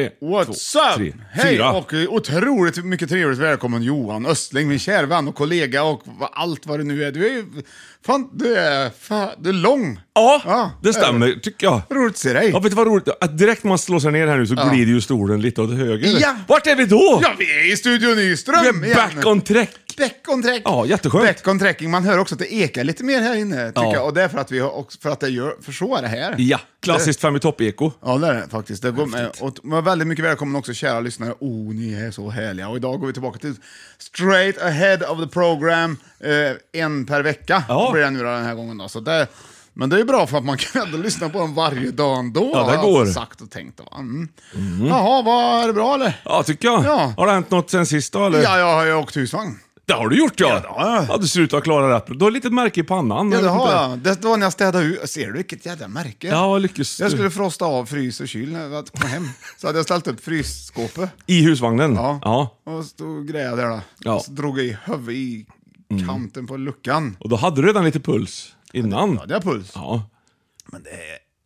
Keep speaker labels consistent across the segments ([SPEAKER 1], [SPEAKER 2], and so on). [SPEAKER 1] Ett,
[SPEAKER 2] What's
[SPEAKER 1] två,
[SPEAKER 2] up?
[SPEAKER 1] Tre,
[SPEAKER 2] Hej
[SPEAKER 1] fyra.
[SPEAKER 2] och eh, otroligt mycket trevligt välkommen Johan Östling, min kära vän och kollega och va- allt vad det nu är. Du är ju... Fan, du är... Fan, du är lång.
[SPEAKER 1] Ja,
[SPEAKER 2] Ja,
[SPEAKER 1] det stämmer tycker jag.
[SPEAKER 2] Roligt att se dig.
[SPEAKER 1] Ja, vet du vad roligt? Att direkt man slår sig ner här nu så glider ju stolen lite åt höger.
[SPEAKER 2] Ja.
[SPEAKER 1] Vart är vi då?
[SPEAKER 2] Ja, vi är i Studio Nyström
[SPEAKER 1] vi är back on track.
[SPEAKER 2] Back on track.
[SPEAKER 1] Ja, jätteskönt.
[SPEAKER 2] Back on tracking. Man hör också att det ekar lite mer här inne, tycker
[SPEAKER 1] Ja.
[SPEAKER 2] jag. Och det är för att vi har också, för att det gör, för så är det här.
[SPEAKER 1] Ja, klassiskt fem i topp-eko.
[SPEAKER 2] Ja, det är det faktiskt. Det går med. Och man är väldigt mycket välkommen också, kära lyssnare. Oh, ni är så härliga. Och idag går vi tillbaka till straight ahead of the program. Eh, en per vecka
[SPEAKER 1] Ja.
[SPEAKER 2] blir det nu då, den här gången. Då. Så det, men det är ju bra för att man kan ändå lyssna på den varje dag ändå.
[SPEAKER 1] Ja, det
[SPEAKER 2] har jag
[SPEAKER 1] går.
[SPEAKER 2] alltså sagt och tänkt. Va? Mm. Jaha, vad, är det bra eller?
[SPEAKER 1] Ja, tycker jag.
[SPEAKER 2] Ja.
[SPEAKER 1] Har det hänt något sen sist då, eller?
[SPEAKER 2] Ja, jag har ju åkt husvagn.
[SPEAKER 1] Det har du gjort ja.
[SPEAKER 2] Ja, då.
[SPEAKER 1] du ser ut att ha klarat det. Du har ett litet märke i pannan.
[SPEAKER 2] Ja, det
[SPEAKER 1] vet
[SPEAKER 2] har
[SPEAKER 1] inte.
[SPEAKER 2] jag. Det var när jag städade ut. Ser du vilket jävla märke?
[SPEAKER 1] Ja, lyckas du.
[SPEAKER 2] Jag skulle frosta av frys och kyl när jag kom hem. Så hade jag ställt upp frysskåpet.
[SPEAKER 1] I husvagnen?
[SPEAKER 2] Ja.
[SPEAKER 1] ja.
[SPEAKER 2] Och stod grejer där då.
[SPEAKER 1] Ja. Mm.
[SPEAKER 2] Och så drog jag i huvudet i kanten på luckan.
[SPEAKER 1] Och då hade du redan lite puls innan?
[SPEAKER 2] Ja, det är puls.
[SPEAKER 1] Ja,
[SPEAKER 2] Men det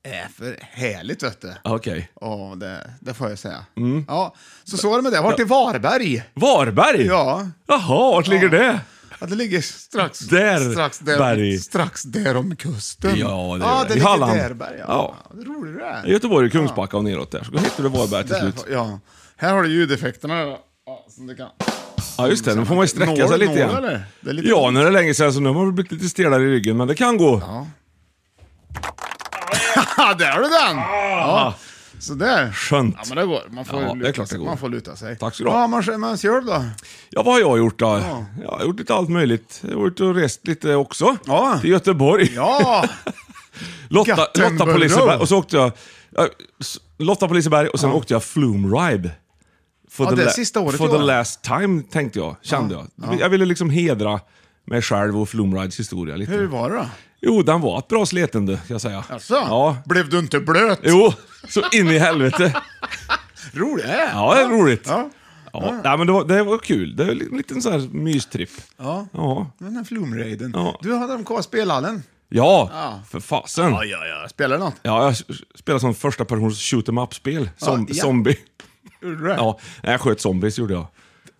[SPEAKER 2] är för härligt vet du.
[SPEAKER 1] okej.
[SPEAKER 2] Ja, det, det får jag säga.
[SPEAKER 1] Mm.
[SPEAKER 2] Ja, så så är det med det. Vart är Varberg?
[SPEAKER 1] Varberg?
[SPEAKER 2] Ja,
[SPEAKER 1] Jaha, vart ligger det?
[SPEAKER 2] ja, det ligger strax
[SPEAKER 1] Där,
[SPEAKER 2] strax där,
[SPEAKER 1] berg.
[SPEAKER 2] strax där om kusten.
[SPEAKER 1] Ja, det gör
[SPEAKER 2] ja,
[SPEAKER 1] det.
[SPEAKER 2] det
[SPEAKER 1] I
[SPEAKER 2] ligger
[SPEAKER 1] Halland.
[SPEAKER 2] där berg. Ja.
[SPEAKER 1] Ja.
[SPEAKER 2] Ja. Det är roligt det är.
[SPEAKER 1] Göteborg, Kungsbacka och neråt där. Så hittar du Varberg till
[SPEAKER 2] Där,
[SPEAKER 1] slut.
[SPEAKER 2] ja. Här har du ljudeffekterna. då. Ja, som du kan.
[SPEAKER 1] Ja, just det. Då får man ju sträcka
[SPEAKER 2] Når-
[SPEAKER 1] sig lite
[SPEAKER 2] når
[SPEAKER 1] igen.
[SPEAKER 2] eller? Det är lite-
[SPEAKER 1] Ja, nu är det länge sedan så nu har man blivit lite stelare i ryggen, men det kan gå.
[SPEAKER 2] Ja, där har du den!
[SPEAKER 1] Ah.
[SPEAKER 2] Ja. Så där.
[SPEAKER 1] Skönt.
[SPEAKER 2] Ja, men det går. Man får,
[SPEAKER 1] Ja, det är
[SPEAKER 2] luta,
[SPEAKER 1] klart det
[SPEAKER 2] sig.
[SPEAKER 1] går.
[SPEAKER 2] Man får luta sig.
[SPEAKER 1] Tack ska du ha.
[SPEAKER 2] Ja, man, man gör det då.
[SPEAKER 1] Ja, vad har jag gjort då? Jag har gjort lite allt möjligt. Jag har varit och rest lite också.
[SPEAKER 2] Ja.
[SPEAKER 1] Till Göteborg.
[SPEAKER 2] Ja!
[SPEAKER 1] Lotta,
[SPEAKER 2] Gattenborough.
[SPEAKER 1] Lotta på Liseberg och så åkte jag... ja, s- Lotta på Liseberg och sen åkte jag Flume Ride. For
[SPEAKER 2] Ja, det är sista året
[SPEAKER 1] For
[SPEAKER 2] i
[SPEAKER 1] the
[SPEAKER 2] år.
[SPEAKER 1] last time, tänkte jag. Kände jag. Jag ville liksom hedra mig själv och Flume Rides historia lite.
[SPEAKER 2] Hur var det då?
[SPEAKER 1] Jo, den var ett bra sletande, kan jag säga.
[SPEAKER 2] Alltså,
[SPEAKER 1] Ja.
[SPEAKER 2] Blev du inte blöt?
[SPEAKER 1] Jo, så in i helvete.
[SPEAKER 2] Roligt. Ja.
[SPEAKER 1] Ja, det är roligt. Ja.
[SPEAKER 2] ja.
[SPEAKER 1] Nej, men det, var, det var kul. Det var en liten sån här mystripp.
[SPEAKER 2] Ja.
[SPEAKER 1] Ja.
[SPEAKER 2] Den där flumraiden.
[SPEAKER 1] Ja.
[SPEAKER 2] Du hade dem kvar i spelhallen.
[SPEAKER 1] Ja,
[SPEAKER 2] Ja.
[SPEAKER 1] för fasen.
[SPEAKER 2] Ja, ja, ja. Spelar du något?
[SPEAKER 1] Ja, jag spelar som första persons shoot em up-spel. Som,
[SPEAKER 2] Ja, ja.
[SPEAKER 1] Zombie.
[SPEAKER 2] Gjorde du det?
[SPEAKER 1] Ja, nej, jag sköt zombies gjorde jag.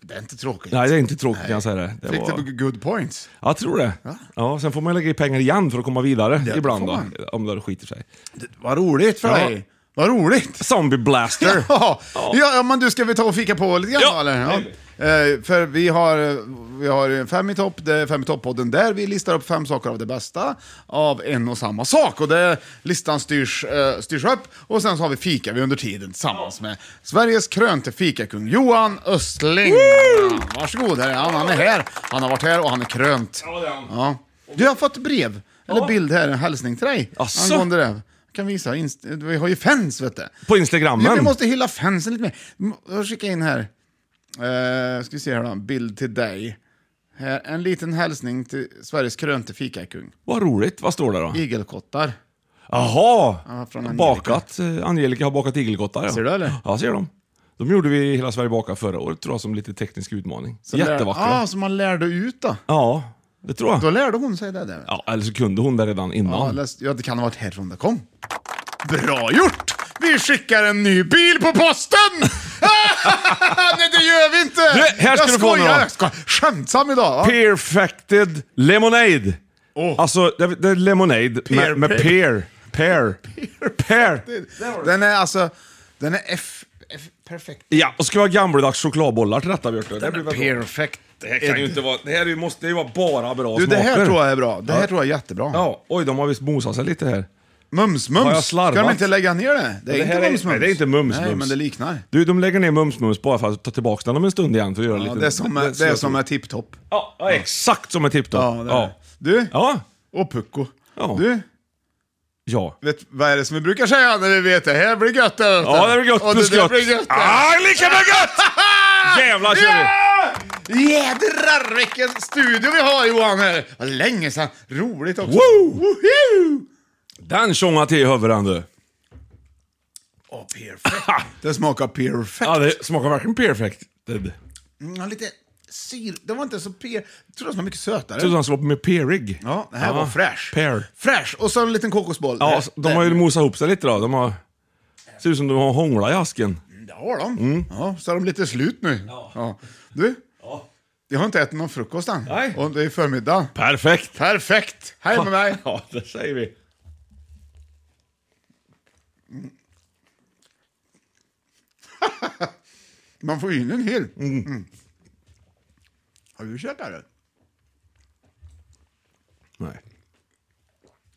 [SPEAKER 2] Det är inte tråkigt.
[SPEAKER 1] Nej, det är inte tråkigt kan jag säga det. det
[SPEAKER 2] Fick
[SPEAKER 1] var...
[SPEAKER 2] du good points?
[SPEAKER 1] Jag tror det. Ja, sen får man lägga i pengar igen för att komma vidare
[SPEAKER 2] Det
[SPEAKER 1] ibland
[SPEAKER 2] får
[SPEAKER 1] då.
[SPEAKER 2] man.
[SPEAKER 1] Om det skiter sig.
[SPEAKER 2] Vad roligt för
[SPEAKER 1] Ja.
[SPEAKER 2] dig. Vad roligt.
[SPEAKER 1] Zombie blaster.
[SPEAKER 2] Ja. ja, men du ska vi ta och fika på lite grann
[SPEAKER 1] Ja.
[SPEAKER 2] eller? Ja. Eh, för vi har, vi har fem i topp, det är fem i topp-podden där vi listar upp fem saker av det bästa av en och samma sak. Och det, listan styrs, eh, styrs upp och sen så har vi fika vi under tiden tillsammans med Sveriges krönte fikakung Johan Östling. Ja, varsågod, här är han. han är här. Han har varit här och han är krönt.
[SPEAKER 1] Ja, det är han.
[SPEAKER 2] Ja. Du har fått brev, eller bild här, en hälsning till dig
[SPEAKER 1] Asså?
[SPEAKER 2] angående det. Jag kan visa, inst- vi har ju fans vet du.
[SPEAKER 1] På Instagrammen.
[SPEAKER 2] Ja, vi måste hylla fansen lite mer. M- Jag skickar in här. Uh, ska vi se här då, en bild till dig. Här, en liten hälsning till Sveriges krönte fikakung.
[SPEAKER 1] Vad roligt. Vad står det då?
[SPEAKER 2] Igelkottar.
[SPEAKER 1] Jaha!
[SPEAKER 2] Ja, från Angelica.
[SPEAKER 1] Bakat. eh, Angelica har bakat igelkottar. Ja.
[SPEAKER 2] Ser du, eller?
[SPEAKER 1] Ja, ser dem. De gjorde vi Hela Sverige bakar förra året tror jag som lite teknisk utmaning.
[SPEAKER 2] Så lär-
[SPEAKER 1] Jättevackra.
[SPEAKER 2] Ja, så man lärde ut då.
[SPEAKER 1] Ja, det tror
[SPEAKER 2] Då
[SPEAKER 1] jag.
[SPEAKER 2] lärde hon sig det där.
[SPEAKER 1] Ja, eller så kunde hon det redan
[SPEAKER 2] Ja,
[SPEAKER 1] innan.
[SPEAKER 2] läst- ja, det kan ha varit härifrån det kom. Bra gjort! Vi skickar en ny bil på posten! Nej, det gör vi inte!
[SPEAKER 1] Du, här ska
[SPEAKER 2] jag
[SPEAKER 1] du få nu då.
[SPEAKER 2] skojar, jag skojar. Skämtsam idag, va?
[SPEAKER 1] Perfected Lemonade.
[SPEAKER 2] Åh.
[SPEAKER 1] Alltså, det, det är lemonade
[SPEAKER 2] Pear,
[SPEAKER 1] med, med
[SPEAKER 2] pear.
[SPEAKER 1] pear. Pear. Pear.
[SPEAKER 2] Den är alltså... Den är F... F perfekt.
[SPEAKER 1] Ja, och ska vi ha gammeldags chokladbollar till detta, Björte? Det, blir väl bra.
[SPEAKER 2] Perfekt.
[SPEAKER 1] det här kan ju inte vara... Det här är ju- måste ju vara bara bra
[SPEAKER 2] Du, det här
[SPEAKER 1] smaker.
[SPEAKER 2] tror jag är bra. Det här tror jag är jättebra.
[SPEAKER 1] Ja, oj, de har visst mosat sig lite här.
[SPEAKER 2] Mums,
[SPEAKER 1] Har jag
[SPEAKER 2] mums. Ska
[SPEAKER 1] slarvat?
[SPEAKER 2] de inte lägga ner det? Det är
[SPEAKER 1] Det här
[SPEAKER 2] inte
[SPEAKER 1] är-
[SPEAKER 2] mums, mums.
[SPEAKER 1] nej, det är inte mums,
[SPEAKER 2] Nej,
[SPEAKER 1] mums.
[SPEAKER 2] men det liknar.
[SPEAKER 1] Du, de lägger ner Mums-Mums bara för att ta tillbaka den om en stund igen för att göra
[SPEAKER 2] Ja,
[SPEAKER 1] lite...
[SPEAKER 2] det är som, det, är som är tipptopp.
[SPEAKER 1] Ja, ja, exakt som en tipptopp.
[SPEAKER 2] Ja, det är det. Du?
[SPEAKER 1] Ja.
[SPEAKER 2] Och Pucko.
[SPEAKER 1] Ja.
[SPEAKER 2] Du,
[SPEAKER 1] Ja.
[SPEAKER 2] vet, vad är det som vi brukar säga när vi vet det här blir gött? där ute?
[SPEAKER 1] Ja, det blir gött
[SPEAKER 2] Och
[SPEAKER 1] plus
[SPEAKER 2] det där
[SPEAKER 1] gött.
[SPEAKER 2] blir gött. där.
[SPEAKER 1] Ah, lika med gött! Jävlar kör vi!
[SPEAKER 2] Ja! Jädrar vilken studio vi har Johan här! Vad länge sedan. Roligt också.
[SPEAKER 1] Woo!
[SPEAKER 2] Woho!
[SPEAKER 1] Den tjongar till i huvudet du.
[SPEAKER 2] Åh, perfekt. Det smakar perfekt.
[SPEAKER 1] Ja, det smakar verkligen perfekt. Det- det-
[SPEAKER 2] Mm, ja, lite syr. Det var inte så per... Jag trodde det var mycket sötare.
[SPEAKER 1] Jag trodde han skulle vara med perig.
[SPEAKER 2] Ja, det här var fräsch.
[SPEAKER 1] Pear.
[SPEAKER 2] Fräsch! Och så en liten kokosboll.
[SPEAKER 1] Ja,
[SPEAKER 2] Det-
[SPEAKER 1] de har ju mosat ihop sig lite då. De har... Ser ut som de har hånglat i asken.
[SPEAKER 2] Det har de.
[SPEAKER 1] Mm.
[SPEAKER 2] Ja, så är de lite slut nu. Ja. Du, jag har inte ätit någon frukost än.
[SPEAKER 1] Nej.
[SPEAKER 2] Och det är förmiddag.
[SPEAKER 1] Perfekt!
[SPEAKER 2] Perfekt! Hej med mig!
[SPEAKER 1] Ja, det säger vi.
[SPEAKER 2] Man får in en hel. Mm. Har du käkat det?
[SPEAKER 1] Nej.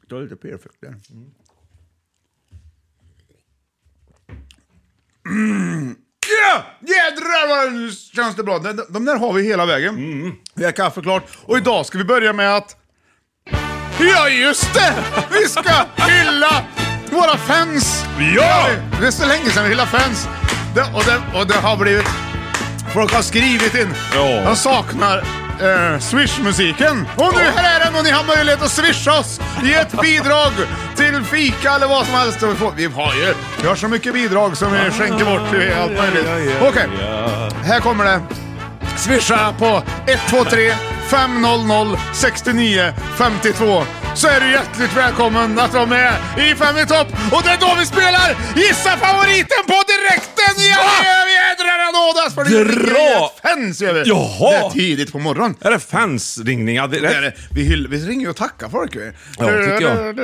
[SPEAKER 2] Det var lite perfekt där. Mm. Ja! Jädrar vad det känns det bra. De, de där har vi hela vägen. Vi har kaffe klart. Och idag ska vi börja med att... Ja just det! Vi ska hylla våra fans!
[SPEAKER 1] Ja!
[SPEAKER 2] Det är så länge sedan vi hyllade fans. Det, och, det, och det har blivit... Folk har skrivit in.
[SPEAKER 1] Ja.
[SPEAKER 2] De saknar eh, Swish-musiken. Och nu här är den och ni har möjlighet att swisha oss. Ge ett bidrag till fika eller vad som helst. Och Vi, får, vi har ju vi har så mycket bidrag som vi skänker bort till allt möjligt. Okej, här kommer det. Swisha på 123 500 69 52 så är du hjärtligt välkommen att vara med i Fem i topp. Och det är då vi spelar Gissa favoriten på direkten! Ja, det gör vi! jädrar anådas! För det är
[SPEAKER 1] Dra!
[SPEAKER 2] grejer. Fans gör vi!
[SPEAKER 1] Jaha!
[SPEAKER 2] Det är tidigt på morgonen.
[SPEAKER 1] Är det fansringningar
[SPEAKER 2] Det är
[SPEAKER 1] direkt?
[SPEAKER 2] det. Vi, hyll, vi ringer ju och tackar folk. Vi.
[SPEAKER 1] Ja, tycker jag.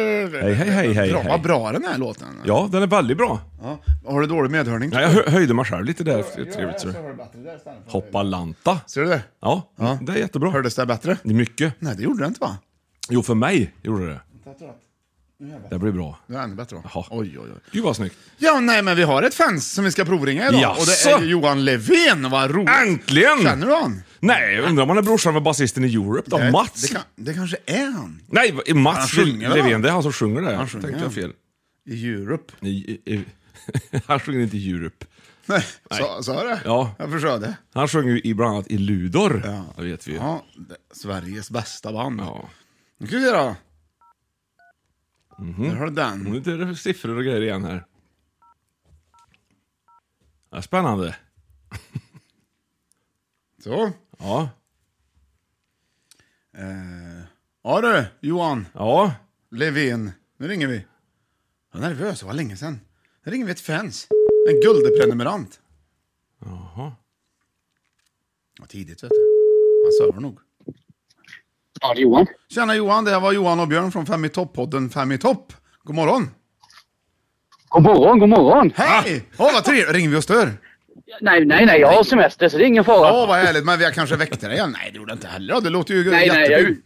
[SPEAKER 1] Hej, hej, hej, hej,
[SPEAKER 2] Bra,
[SPEAKER 1] hej.
[SPEAKER 2] vad bra den här låten är.
[SPEAKER 1] Ja, den är väldigt bra.
[SPEAKER 2] Ja. Har du dålig medhörning?
[SPEAKER 1] Ja, jag hö- höjde mig själv lite där. Det är trevligt.
[SPEAKER 2] så
[SPEAKER 1] Så.
[SPEAKER 2] hör du bättre där istället för-
[SPEAKER 1] Hoppa lanta.
[SPEAKER 2] Ser du det?
[SPEAKER 1] Ja, det är jättebra.
[SPEAKER 2] Hördes det bättre?
[SPEAKER 1] Det är mycket.
[SPEAKER 2] Nej, det gjorde det inte va?
[SPEAKER 1] Jo, för mig gjorde det det. blir bra.
[SPEAKER 2] Det är ännu bättre då.
[SPEAKER 1] Jaha.
[SPEAKER 2] Oj, oj, oj.
[SPEAKER 1] Gud vad snyggt.
[SPEAKER 2] Ja, nej, men vi har ett fans som vi ska provringa idag. Och det är
[SPEAKER 1] Jaså?
[SPEAKER 2] ju Johan Levén, vad roligt!
[SPEAKER 1] Äntligen!
[SPEAKER 2] Känner du han?
[SPEAKER 1] Nej, jag undrar om han är brorsan med basisten i Europe då? Mats?
[SPEAKER 2] Det, kan, det kanske är han.
[SPEAKER 1] Nej, vad-
[SPEAKER 2] Han
[SPEAKER 1] Mats
[SPEAKER 2] sjunger, va?
[SPEAKER 1] Levén, det är han som sjunger det.
[SPEAKER 2] Han
[SPEAKER 1] Han
[SPEAKER 2] sjunger,
[SPEAKER 1] Tänkte jag
[SPEAKER 2] ja.
[SPEAKER 1] fel.
[SPEAKER 2] I Europe.
[SPEAKER 1] I, i, i. han sjunger inte i Europe.
[SPEAKER 2] Nej, sa, sa jag det?
[SPEAKER 1] Ja.
[SPEAKER 2] Jag försökte.
[SPEAKER 1] Han sjunger ju i bland annat i Ludor. Det vet vi ju.
[SPEAKER 2] Ja, det, Sveriges bästa band.
[SPEAKER 1] Ja.
[SPEAKER 2] Nu ska vi se då.
[SPEAKER 1] Mhm.
[SPEAKER 2] Där har du den.
[SPEAKER 1] Nu är det siffror och grejer igen här. Ja, spännande.
[SPEAKER 2] Så.
[SPEAKER 1] Ja.
[SPEAKER 2] Eh, ja du, Johan
[SPEAKER 1] Ja.
[SPEAKER 2] Levén. Nu ringer vi. Jag är nervös, det var länge sedan. Nu ringer vi ett fans. En guldprenumerant.
[SPEAKER 1] Jaha.
[SPEAKER 2] Ja, tidigt vet du. Han sover nog.
[SPEAKER 3] Ja, det är Johan.
[SPEAKER 2] Tjena Johan, det här var Johan och Björn från Fem i topp-podden Fem i topp. God morgon!
[SPEAKER 3] God morgon, god morgon!
[SPEAKER 2] Hej!
[SPEAKER 3] Ah.
[SPEAKER 2] Åh vad trevligt! Ringer vi och stör?
[SPEAKER 3] Nej, nej, nej, jag har semester så det är ingen fara.
[SPEAKER 2] Åh vad härligt, men jag kanske väckte dig igen? Nej det gjorde jag inte heller. Det låter ju
[SPEAKER 3] nej, nej, jag, är ut-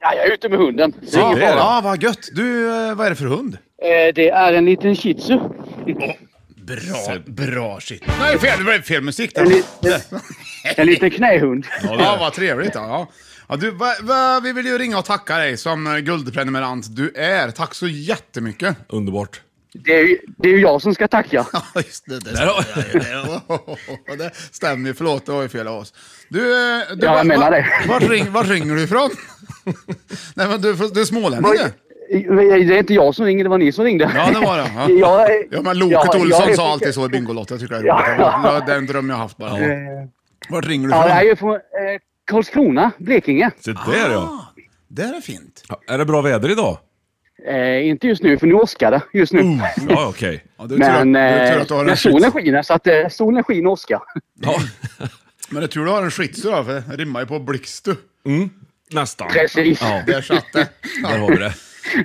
[SPEAKER 3] ja, jag är ute med hunden. Så det är
[SPEAKER 2] Ja,
[SPEAKER 3] ingen fara.
[SPEAKER 2] ja, vad gött! Du, eh, vad är det för hund?
[SPEAKER 3] Eh, det är en liten shih tzu.
[SPEAKER 2] Bra, bra shit. Nej fel, det blev fel musik där.
[SPEAKER 3] En, li- en, en liten knähund.
[SPEAKER 2] Ja, Ah, vad trevligt. Ja. Ja, du, va, va, vi vill ju ringa och tacka dig som eh, guldprenumerant du är. Tack så jättemycket.
[SPEAKER 1] Underbart.
[SPEAKER 3] Det är, ju- det är ju jag som ska tacka.
[SPEAKER 2] Ja, just det. Det,
[SPEAKER 1] Där har-
[SPEAKER 2] det, det stämmer ju. Förlåt, det var ju fel av oss. Du, eh, du
[SPEAKER 3] Ja, jag menar det.
[SPEAKER 2] Var, var, ring, var ringer du ifrån? Nej, men du, du är smålänning du?
[SPEAKER 3] Eh, Det är inte jag som ringer, det var ni som ringde.
[SPEAKER 2] Ja, det var det. Ja.
[SPEAKER 3] Jag-
[SPEAKER 2] Ja, men Loket
[SPEAKER 3] jag-
[SPEAKER 2] Olsson
[SPEAKER 3] jag-
[SPEAKER 2] sa alltid så i Bingolotto. Jag tycker det är
[SPEAKER 3] Ja.
[SPEAKER 2] roligt. Ja. Det är en dröm jag haft bara.
[SPEAKER 3] Eh,
[SPEAKER 2] Vart ringer du
[SPEAKER 3] Ja, jag är
[SPEAKER 2] ifrån?
[SPEAKER 3] ju från eh, Karlskrona, Blekinge.
[SPEAKER 1] Så
[SPEAKER 2] Ah.
[SPEAKER 1] där ja.
[SPEAKER 2] Där är fint.
[SPEAKER 1] Ja, Är det bra väder idag?
[SPEAKER 3] Eh, inte just nu, för nu åskar det just nu.
[SPEAKER 1] Ja, okej.
[SPEAKER 2] Mm. Ja, det Oh, är
[SPEAKER 3] Men,
[SPEAKER 2] tur att, det är tur
[SPEAKER 3] eh,
[SPEAKER 2] att du har
[SPEAKER 3] men
[SPEAKER 2] en
[SPEAKER 3] solen
[SPEAKER 2] skits.
[SPEAKER 3] skiner, så att eh, solen skiner och åskar.
[SPEAKER 1] Ja,
[SPEAKER 2] Men det är tur du har en skits då, för det rimmar ju på blixt du.
[SPEAKER 1] nästan.
[SPEAKER 3] Precis.
[SPEAKER 1] Ja,
[SPEAKER 2] Där satt det.
[SPEAKER 1] där har vi det.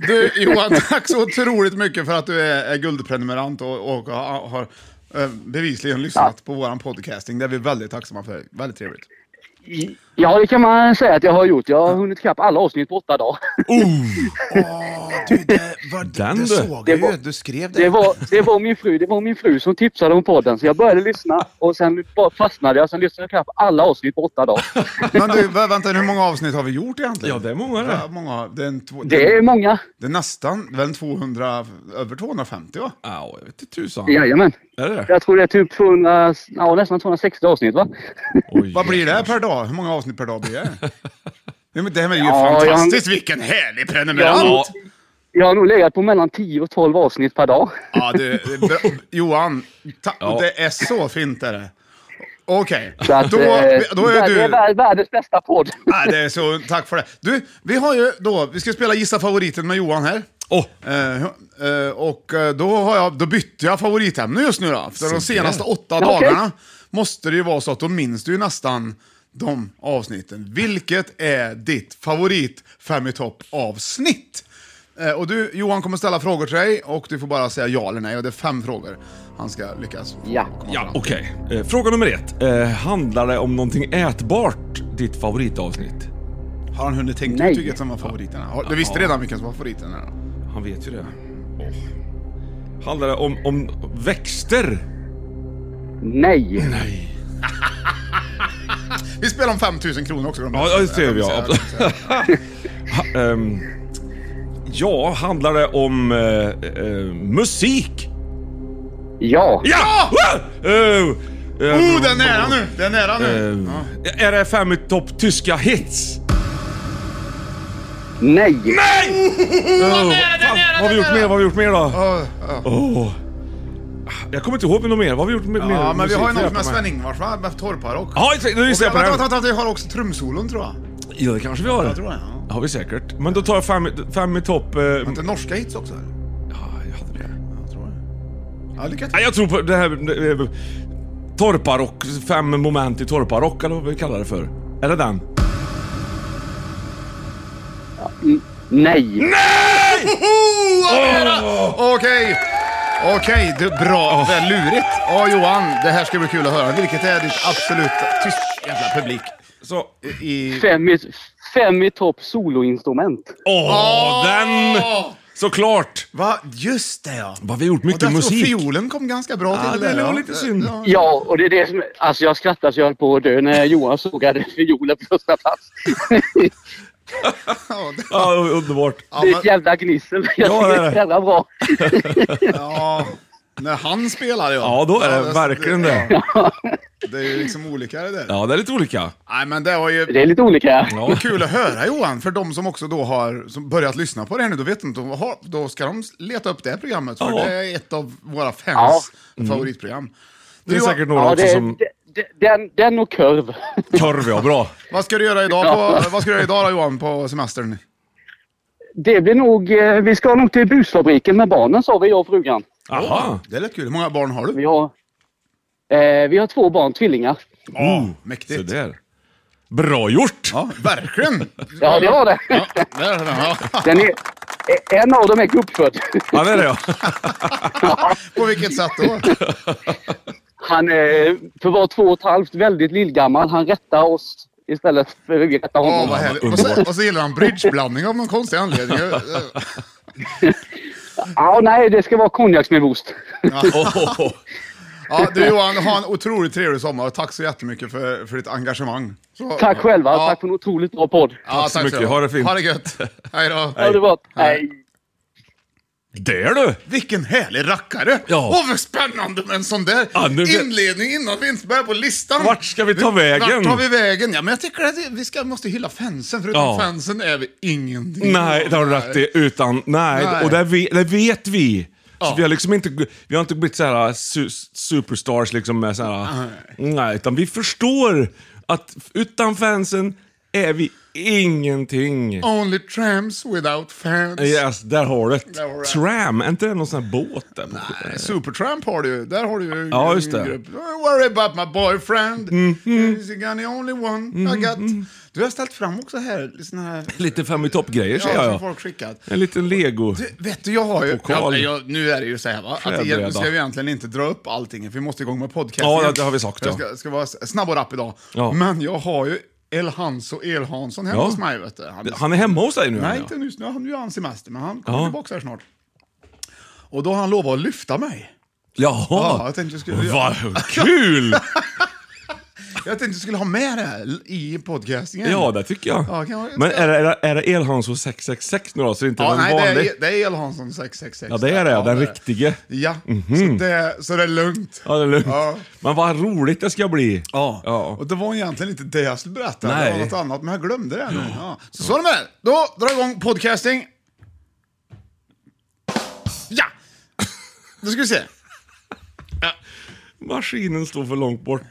[SPEAKER 2] Du Johan, tack så otroligt mycket för att du är, är guldprenumerant och, och har, har eh, bevisligen lyssnat på våran podcasting. Det är vi väldigt tacksamma för. Väldigt trevligt.
[SPEAKER 3] Ja, det kan man säga att jag har gjort. Jag har hunnit ikapp alla avsnitt på åtta dagar.
[SPEAKER 1] Den du.
[SPEAKER 2] såg
[SPEAKER 3] Det var-
[SPEAKER 2] du skrev
[SPEAKER 3] Det var, det var, min, fru, det var min fru som tipsade om podden, så jag började lyssna och sen bara fastnade jag. Sen lyssnade jag ikapp alla avsnitt på åtta dagar.
[SPEAKER 2] Men du, vä- vänta hur många avsnitt har vi gjort egentligen?
[SPEAKER 1] Ja, det är många
[SPEAKER 2] Ja,
[SPEAKER 1] det.
[SPEAKER 2] många. Det är, en två, det,
[SPEAKER 3] Det är många.
[SPEAKER 2] det är nästan, väl 200, över 250 va?
[SPEAKER 1] Ja, jag vet inte tusan.
[SPEAKER 3] Jajamän.
[SPEAKER 1] Är det det?
[SPEAKER 3] Jag tror det är typ 200, ja, nästan 260 avsnitt, va?
[SPEAKER 1] Oj,
[SPEAKER 2] Vad blir det per dag? Hur många avsnitt per dag blir det? Ja, men det här är ju
[SPEAKER 3] Ja, jag-
[SPEAKER 2] fantastiskt, vilken härlig prenumerant!
[SPEAKER 1] Ja.
[SPEAKER 3] Jag har nog legat på mellan 10 och 12 avsnitt per dag.
[SPEAKER 2] Ja, du, det är bra. Johan, ta,
[SPEAKER 1] Ja.
[SPEAKER 2] det är så fint är det. Okej,
[SPEAKER 3] Så att,
[SPEAKER 2] då,
[SPEAKER 3] eh,
[SPEAKER 2] då är
[SPEAKER 3] det, det
[SPEAKER 2] du...
[SPEAKER 3] är vär- världens bästa podd.
[SPEAKER 2] Nej, det är så, tack för det. Du, vi har ju då, vi ska spela Gissa favoriten med Johan här.
[SPEAKER 1] Åh,
[SPEAKER 2] Eh, eh, och eh, då, har jag, då bytte jag favoritämne just nu då. För de senaste åtta
[SPEAKER 3] Ja, okej.
[SPEAKER 2] dagarna måste det ju vara så att då minns du ju nästan de avsnitten. Vilket är ditt favorit Fem i topp-avsnitt? Eh, och du, Johan kommer ställa frågor till dig och du får bara säga ja eller nej. Och det är fem frågor han ska lyckas få
[SPEAKER 3] Ja.
[SPEAKER 2] komma
[SPEAKER 1] ja,
[SPEAKER 2] fram till.
[SPEAKER 1] okej. Eh, Fråga nummer ett. Eh, handlar det om någonting ätbart? Ditt favoritavsnitt?
[SPEAKER 2] Har han hunnit tänka
[SPEAKER 3] Nej.
[SPEAKER 2] ut vilket som var favoriterna? Har- Du visste redan vilken som var favoriterna? då?
[SPEAKER 1] Han vet ju det. Handlar det om, om växter?
[SPEAKER 3] Nej.
[SPEAKER 2] Vi spelar om 5000 kronor också. de här.
[SPEAKER 1] Ja, det ser vi, ja.
[SPEAKER 2] kan säga.
[SPEAKER 1] Ehm, ja, handlar det om eh, eh, musik?
[SPEAKER 3] Ja.
[SPEAKER 1] Ja! Uh,
[SPEAKER 2] Oh, den är nära nu! Den är nära nu!
[SPEAKER 1] Eh,
[SPEAKER 2] Ja.
[SPEAKER 1] Är det fem i topp tyska hits?
[SPEAKER 3] Nej.
[SPEAKER 1] Nej! Oh, fan, vad har vi gjort mer? Vad har vi gjort mer då?
[SPEAKER 2] Ja, ja.
[SPEAKER 1] Åh. Jag kommer inte ihåg något mer. Vad har vi gjort med, mer?
[SPEAKER 2] Ja, men vi
[SPEAKER 1] musik?
[SPEAKER 2] har ju något
[SPEAKER 1] Hjälp
[SPEAKER 2] med
[SPEAKER 1] mig.
[SPEAKER 2] Sven-Ingvars va? Med torrparock.
[SPEAKER 1] Ja, exakt. Nu gissar
[SPEAKER 2] Vänta,
[SPEAKER 1] jag på
[SPEAKER 2] vänta,
[SPEAKER 1] det.
[SPEAKER 2] vänta, vi har också trumsolon tror jag.
[SPEAKER 1] Ja, det kanske vi har.
[SPEAKER 2] Jag tror det, ja.
[SPEAKER 1] har vi säkert. Men då tar jag fem, i- fem i topp... eh,
[SPEAKER 2] Inte norska hits också eller?
[SPEAKER 1] ja, jag hade det.
[SPEAKER 2] Jag tror det. Ja, lycka till.
[SPEAKER 1] Nej, jag tror på det här... eh, Torparock, fem moment i torparock eller vad vi kallar det för. Är det den?
[SPEAKER 3] Nej.
[SPEAKER 2] Oho, vad nära! Okej! Okej, det är bra. Det är lurigt. Ja, Johan, det här ska bli kul att höra. Vilket är ditt absoluta... Tyst jävla publik.
[SPEAKER 1] Så...
[SPEAKER 2] I...
[SPEAKER 3] Fem i, fem i topp soloinstrument.
[SPEAKER 1] Åh, den! Såklart!
[SPEAKER 2] Va? Just det ja.
[SPEAKER 1] Vad vi har gjort mycket
[SPEAKER 2] och därför
[SPEAKER 1] musik.
[SPEAKER 2] fiolen kom ganska bra
[SPEAKER 1] Ja,
[SPEAKER 2] till
[SPEAKER 1] det
[SPEAKER 2] där,
[SPEAKER 1] var lite synd.
[SPEAKER 2] Ja.
[SPEAKER 3] Ja, och det är det som... Alltså jag skrattade så jag höll på att dö när Johan sågade fiolen på första plats.
[SPEAKER 2] Ja, det-
[SPEAKER 1] Ja, underbart.
[SPEAKER 3] Det är ett jävla gnissel. Jag
[SPEAKER 1] Ja,
[SPEAKER 3] tycker
[SPEAKER 1] det är
[SPEAKER 3] det är
[SPEAKER 1] det.
[SPEAKER 3] så jävla bra.
[SPEAKER 2] Ja, när han spelar ja.
[SPEAKER 1] Ja, då är det verkligen det.
[SPEAKER 2] Det är ju liksom olika det där.
[SPEAKER 1] Ja, det är lite olika.
[SPEAKER 2] Nej, men det var ju
[SPEAKER 3] Det är lite olika.
[SPEAKER 1] Ja.
[SPEAKER 2] kul att höra Johan, för de som också då har som börjat lyssna på det här nu, då vet inte de vad har- Då ska de leta upp det här programmet, för
[SPEAKER 1] Ja.
[SPEAKER 2] det är ett av våra fans Mm.
[SPEAKER 3] Ja.
[SPEAKER 2] favoritprogram.
[SPEAKER 1] Det är
[SPEAKER 2] Du,
[SPEAKER 1] säkert några
[SPEAKER 3] Ja,
[SPEAKER 1] också
[SPEAKER 3] det är,
[SPEAKER 1] som...
[SPEAKER 3] det- det- den, den och kurv.
[SPEAKER 1] Korv, ja. Bra.
[SPEAKER 2] Vad ska du göra idag, på, vad ska du göra idag då, Johan, på semestern?
[SPEAKER 3] Det blir nog... eh, Vi ska nog till busfabriken med barnen sa vi, jag och frugan.
[SPEAKER 1] Aha.
[SPEAKER 2] Det lät kul. Hur många barn har du?
[SPEAKER 3] Vi har, eh, vi har två barn, tvillingar.
[SPEAKER 1] Oh,
[SPEAKER 2] mäktigt.
[SPEAKER 1] Sådär. Bra gjort!
[SPEAKER 2] Ja, verkligen!
[SPEAKER 3] Ja, det har det.
[SPEAKER 2] Ja, där är den, ja.
[SPEAKER 3] Den är, eh, en av dem är gubbfödd.
[SPEAKER 1] Ja, det är det ja.
[SPEAKER 2] På vilket sätt då?
[SPEAKER 3] Han är för var två och ett halvt väldigt lillgammal. Han rättar oss istället för att vi rättar honom.
[SPEAKER 2] Åh, vad härligt. Och så, och så gillar han bridgeblandning av någon konstig anledning.
[SPEAKER 3] Ja, nej, det ska vara konjaks med boost.
[SPEAKER 1] Åh,
[SPEAKER 2] Ja, du Johan, ha en otroligt trevlig sommar och tack så jättemycket för, för ditt engagemang. Så,
[SPEAKER 3] Tack själva.
[SPEAKER 2] Ja,
[SPEAKER 3] Tack för en otroligt bra podd.
[SPEAKER 2] ja, tack
[SPEAKER 1] så mycket. Ha det fint.
[SPEAKER 2] Ha det gött. Hej då.
[SPEAKER 3] Ha det bra. Hej.
[SPEAKER 1] Där du!
[SPEAKER 2] Vilken härlig rackare!
[SPEAKER 1] Ja.
[SPEAKER 2] Åh, vad spännande med en sån där
[SPEAKER 1] Ja, nu vet-
[SPEAKER 2] inledning innan vi ens börjar på listan.
[SPEAKER 1] Vart ska vi ta vägen?
[SPEAKER 2] Vart tar vi vägen? Ja, men jag tycker att vi ska, måste hylla fansen, för utan
[SPEAKER 1] Ja.
[SPEAKER 2] fansen är vi ingenting.
[SPEAKER 1] Nej, det har du rätt i. Utan, nej.
[SPEAKER 2] Nej.
[SPEAKER 1] Och det, vi, det vet vi.
[SPEAKER 2] Ja.
[SPEAKER 1] Så vi har liksom inte, vi har inte blivit så här su superstars liksom med så här, nej, utan vi förstår att utan fansen är vi ingenting.
[SPEAKER 2] Only tramps without fans.
[SPEAKER 1] Yes, där har du det.
[SPEAKER 2] Där har du det.
[SPEAKER 1] Tram, är inte det någon sån här båt? Där? Nej.
[SPEAKER 2] Supertramp har du ju. Där har du ju
[SPEAKER 1] Ja,
[SPEAKER 2] en
[SPEAKER 1] just det. Mm-hmm.
[SPEAKER 2] grupp. Don't worry about my boyfriend. He's the only- only one I got. Du har ställt fram också här, såna här...
[SPEAKER 1] Lite fem i topp-grejer säger
[SPEAKER 2] Ja, som
[SPEAKER 1] jag.
[SPEAKER 2] folk skickat.
[SPEAKER 1] En liten lego.
[SPEAKER 2] Du, Vet du, jag har ju...
[SPEAKER 1] Pokal.
[SPEAKER 2] Jag, jag, nu är det ju så här va, att
[SPEAKER 1] Förbereda.
[SPEAKER 2] igen, ska vi egentligen inte dra upp allting, för vi måste igång med podcasten.
[SPEAKER 1] Ja, det har vi sagt,
[SPEAKER 2] Jag
[SPEAKER 1] ja.
[SPEAKER 2] ska, ska vara s- snabb och rapp idag.
[SPEAKER 1] Ja.
[SPEAKER 2] Men jag har ju El Hans och El Hansson hemma
[SPEAKER 1] Ja.
[SPEAKER 2] hos mig vet du. Han,
[SPEAKER 1] Han är hemma hos dig nu?
[SPEAKER 2] nej,
[SPEAKER 1] ja.
[SPEAKER 2] inte nyss. Nu han- nu är han semester, men han kommer
[SPEAKER 1] Ja.
[SPEAKER 2] tillbaka här snart. Och då har han lovat att lyfta mig.
[SPEAKER 1] Jaha.
[SPEAKER 2] Ja, jag tänkte jag skulle-
[SPEAKER 1] Vad kul!
[SPEAKER 2] Jag tänkte du skulle ha med det här i podcastingen.
[SPEAKER 1] Ja, det tycker jag.
[SPEAKER 2] Ja, kan jag-
[SPEAKER 1] Men är det, är det, är det Elhansson 666 nu då? Så det inte är
[SPEAKER 2] Ja,
[SPEAKER 1] den
[SPEAKER 2] nej,
[SPEAKER 1] vanliga?
[SPEAKER 2] det är, det är El Hansson 666.
[SPEAKER 1] Ja, det är det. den Mhm.
[SPEAKER 2] det är-
[SPEAKER 1] riktige.
[SPEAKER 2] Ja, så, det, så det är lugnt.
[SPEAKER 1] Ja, det är lugnt.
[SPEAKER 2] Ja.
[SPEAKER 1] Men vad roligt det ska bli.
[SPEAKER 2] Ja.
[SPEAKER 1] Ja.
[SPEAKER 2] och det var egentligen inte det jag skulle berätta, det var
[SPEAKER 1] Nej.
[SPEAKER 2] något annat, men jag glömde det nu. Ja. Så så är det med det. Då drar jag igång podcasting. Ja! Då ska vi se.
[SPEAKER 1] Maskinen står för långt bort.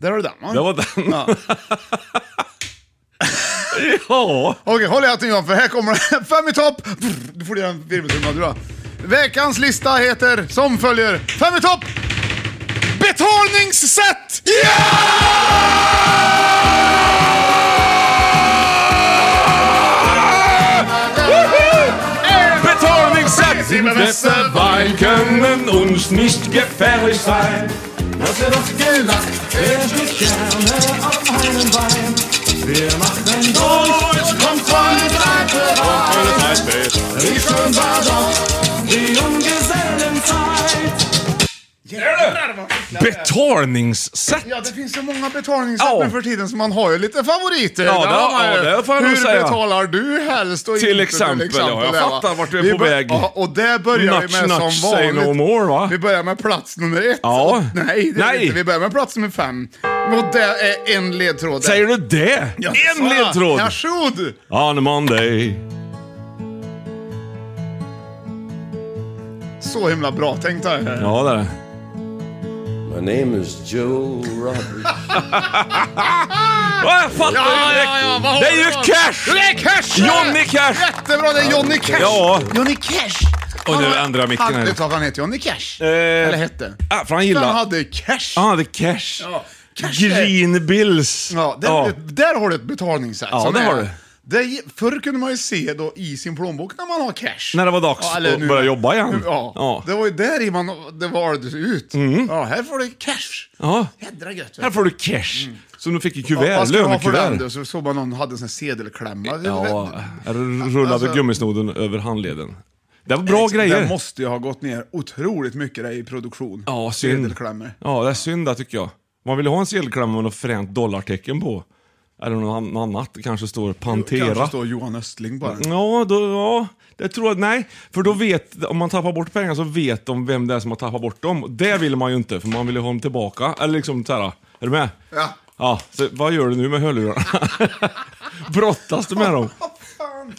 [SPEAKER 2] Där har du den va?
[SPEAKER 1] Det var den.
[SPEAKER 2] Ja.
[SPEAKER 1] Ja.
[SPEAKER 2] Okej, håll i hatten Johan, för här kommer det. Fem i topp! Brr, Du får göra en virveltrumma du då. Veckans lista heter som följer. Fem i topp! Betalningssätt!
[SPEAKER 1] Betalningssätt sind besser, weil können uns nicht gefährlich sein. Dass wir das Geld hätte ich gerne auf einen Wein. Wir machen durch, kommt von der Seite rein. Wie schön war doch die Junggesellenzeit.
[SPEAKER 2] Jävlar vad fick jag det.
[SPEAKER 1] Betalningssätt!
[SPEAKER 2] Ja, det finns så många betalningssätt
[SPEAKER 1] Ja.
[SPEAKER 2] nu för tiden så man har ju lite favoriter.
[SPEAKER 1] Ja,
[SPEAKER 2] Där
[SPEAKER 1] det-
[SPEAKER 2] har man ju.
[SPEAKER 1] ja, det får jag
[SPEAKER 2] Hur
[SPEAKER 1] nog säga.
[SPEAKER 2] betalar du helst och
[SPEAKER 1] Till
[SPEAKER 2] inte,
[SPEAKER 1] exempel, ja, jag
[SPEAKER 2] där, va?
[SPEAKER 1] fattar vart du är på
[SPEAKER 2] bör-
[SPEAKER 1] väg.
[SPEAKER 2] Ja, och där börjar vi med
[SPEAKER 1] Nutch,
[SPEAKER 2] som
[SPEAKER 1] nutch, say
[SPEAKER 2] vanligt.
[SPEAKER 1] no more, va?
[SPEAKER 2] Vi börjar med plats nummer ett.
[SPEAKER 1] Ja.
[SPEAKER 2] Och, nej, det är
[SPEAKER 1] Nej.
[SPEAKER 2] Inte. vi börjar med plats nummer fem. Och det är en ledtråd.
[SPEAKER 1] Säger du det?
[SPEAKER 2] Ja,
[SPEAKER 1] en
[SPEAKER 2] så.
[SPEAKER 1] ledtråd!
[SPEAKER 2] Varsågod!
[SPEAKER 1] On a Monday.
[SPEAKER 2] Så himla bra tänkt har jag.
[SPEAKER 1] Ja, det är det.
[SPEAKER 4] My name is Joe Roberts.
[SPEAKER 1] Ja, jag fattar!
[SPEAKER 2] Ja, ja, ja, vad har
[SPEAKER 1] det är
[SPEAKER 2] du
[SPEAKER 1] ju
[SPEAKER 2] då?
[SPEAKER 1] Cash!
[SPEAKER 2] Det är Cash!
[SPEAKER 1] Johnny Cash!
[SPEAKER 2] Jättebra, det är Johnny Cash!
[SPEAKER 1] Ja.
[SPEAKER 2] Johnny Cash!
[SPEAKER 1] Och nu
[SPEAKER 2] Han-
[SPEAKER 1] ändrar jag micken
[SPEAKER 2] han,
[SPEAKER 1] här.
[SPEAKER 2] Vet du vad han heter? Johnny Cash?
[SPEAKER 1] Eh,
[SPEAKER 2] Eller hette?
[SPEAKER 1] ah, för han
[SPEAKER 2] Han
[SPEAKER 1] gillar...
[SPEAKER 2] hade Cash!
[SPEAKER 1] Han hade cash.
[SPEAKER 2] Ja, cash är-
[SPEAKER 1] Green bills.
[SPEAKER 2] Ja, där, där har du ett betalningssätt.
[SPEAKER 1] Ja,
[SPEAKER 2] som
[SPEAKER 1] det
[SPEAKER 2] är-
[SPEAKER 1] har du.
[SPEAKER 2] Det, förr kunde man ju se då i sin plånbok när man har cash.
[SPEAKER 1] När det var dags att börja jobba igen.
[SPEAKER 2] Ja.
[SPEAKER 1] Ja.
[SPEAKER 2] Det var ju där i man, det valdes ut. Ja, här får du cash.
[SPEAKER 1] Ja.
[SPEAKER 2] Jädra gött.
[SPEAKER 1] Här får du cash. Så nu fick ju
[SPEAKER 2] Mm. Vad-
[SPEAKER 1] kuvert,
[SPEAKER 2] Vad ska du ha för den då?
[SPEAKER 1] lönekuvert.
[SPEAKER 2] Så såg man någon hade en sån här sedelklämma.
[SPEAKER 1] Ja, här rullade
[SPEAKER 2] Alltså-
[SPEAKER 1] gummisnoden över handleden. Det var bra grejer.
[SPEAKER 2] Liksom, Den måste ju ha gått ner otroligt mycket där i produktion.
[SPEAKER 1] Ja, synd.
[SPEAKER 2] Sedelklämmor.
[SPEAKER 1] Ja, det är synd det tycker jag. Man vill ju ha en sedelklämma med något fränt dollartecken på. Eller något an- annat. Det kanske står Pantera.
[SPEAKER 2] Kanske står Johan Östling bara.
[SPEAKER 1] Ja, då, ja, det tror jag, nej. För då vet, om man tappar bort pengar så vet de vem det är som har tappat bort dem. Det vill man ju inte, för man vill ju ha dem tillbaka. Eller liksom så här, är du med?
[SPEAKER 2] Ja.
[SPEAKER 1] Ja, så vad gör du nu med hörlurarna? Brottas du med dem?
[SPEAKER 2] Vad fan?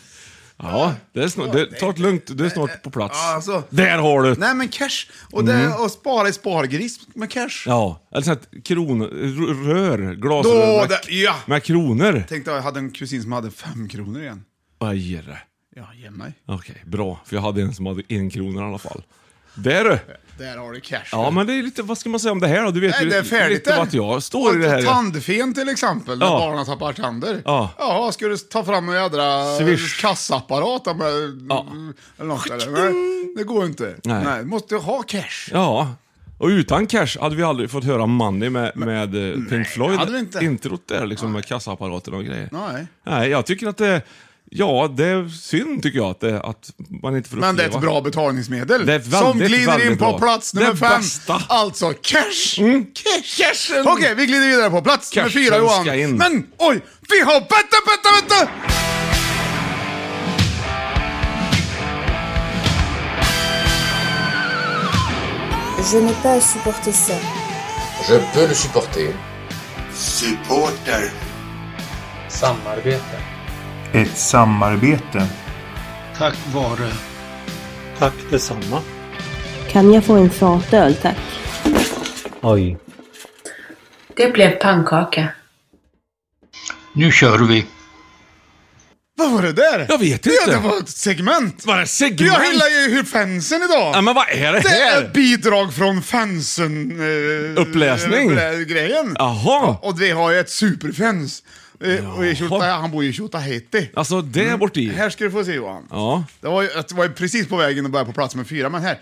[SPEAKER 1] Ja, det är snart, det, ta det lugnt, du är snart på plats.
[SPEAKER 2] Ja, alltså.
[SPEAKER 1] Där har du!
[SPEAKER 2] Nej men cash. Och, det, och spara i spargris med cash.
[SPEAKER 1] Mm. Ja, eller sånt här kron, r- rör,
[SPEAKER 2] Då,
[SPEAKER 1] glasrör med,
[SPEAKER 2] där, ja.
[SPEAKER 1] med kronor.
[SPEAKER 2] Tänkte jag hade en kusin som hade fem kronor igen.
[SPEAKER 1] Vad är det?
[SPEAKER 2] Ja, ge mig.
[SPEAKER 1] Okej, bra. För jag hade en som hade en krona i alla fall. Där du!
[SPEAKER 2] Där har du cash.
[SPEAKER 1] Ja, men det är lite, vad ska man säga om det här då? Du vet
[SPEAKER 2] Nej,
[SPEAKER 1] ju
[SPEAKER 2] det är färdigt
[SPEAKER 1] lite
[SPEAKER 2] där.
[SPEAKER 1] vart jag står i det här.
[SPEAKER 2] Tandfen till exempel, när
[SPEAKER 1] Ja.
[SPEAKER 2] barnen tappar tänder.
[SPEAKER 1] Ja.
[SPEAKER 2] ja, ska du ta fram en jädra
[SPEAKER 1] Swish.
[SPEAKER 2] kassaapparat där med,
[SPEAKER 1] Ja.
[SPEAKER 2] eller något eller? Nej, det går inte.
[SPEAKER 1] Nej.
[SPEAKER 2] Nej, du måste ha cash.
[SPEAKER 1] Ja. Och utan cash hade vi aldrig fått höra Money med, med eh, Pink Floyd.
[SPEAKER 2] hade vi inte.
[SPEAKER 1] Introt där liksom med kassaapparaten och grejer.
[SPEAKER 2] Nej.
[SPEAKER 1] Nej, jag tycker att det... Ja, det är synd tycker jag att, det, att man inte får
[SPEAKER 2] Men det är ett
[SPEAKER 1] uppleva.
[SPEAKER 2] bra betalningsmedel
[SPEAKER 1] Det är väldigt,
[SPEAKER 2] som glider in
[SPEAKER 1] väldigt
[SPEAKER 2] på
[SPEAKER 1] bra.
[SPEAKER 2] plats
[SPEAKER 1] Det
[SPEAKER 2] nummer fem.
[SPEAKER 1] bästa. Mm.
[SPEAKER 2] Alltså cash! Cash!
[SPEAKER 1] Cashen!
[SPEAKER 2] Okej, vi glider vidare på plats nummer
[SPEAKER 1] Cashen
[SPEAKER 2] fyra Johan.
[SPEAKER 1] ska in.
[SPEAKER 2] Men oj, vi har... Vänta, vänta, vänta!
[SPEAKER 5] Je n'ai pas à supporter ça.
[SPEAKER 6] Je peux le supporter.
[SPEAKER 7] Supporter.
[SPEAKER 6] Samarbete.
[SPEAKER 8] Ett samarbete.
[SPEAKER 7] Tack vare. Tack detsamma.
[SPEAKER 9] Kan jag få en fatöl, tack?
[SPEAKER 10] Oj.
[SPEAKER 11] Det blev pannkaka.
[SPEAKER 7] Nu kör vi.
[SPEAKER 2] Vad var det där?
[SPEAKER 1] Jag vet
[SPEAKER 2] Det-
[SPEAKER 1] inte.
[SPEAKER 2] Det var ett segment.
[SPEAKER 1] Var det segment?
[SPEAKER 2] Jag hyllar ju hur fansen idag.
[SPEAKER 1] Ja, men vad är det
[SPEAKER 2] Det är
[SPEAKER 1] här?
[SPEAKER 2] ett bidrag från fansen... Eh,
[SPEAKER 1] Uppläsning?
[SPEAKER 2] upplä- Grejen.
[SPEAKER 1] Jaha.
[SPEAKER 2] Och vi har ju ett superfans. Eh, och i Tjota, han bor ju i Tjotahejti.
[SPEAKER 1] Alltså, det är borti.
[SPEAKER 2] Mm. Här ska du få se Johan.
[SPEAKER 1] Ja.
[SPEAKER 2] Det var, ju, det var ju precis på vägen att börja på plats med fyra, men här.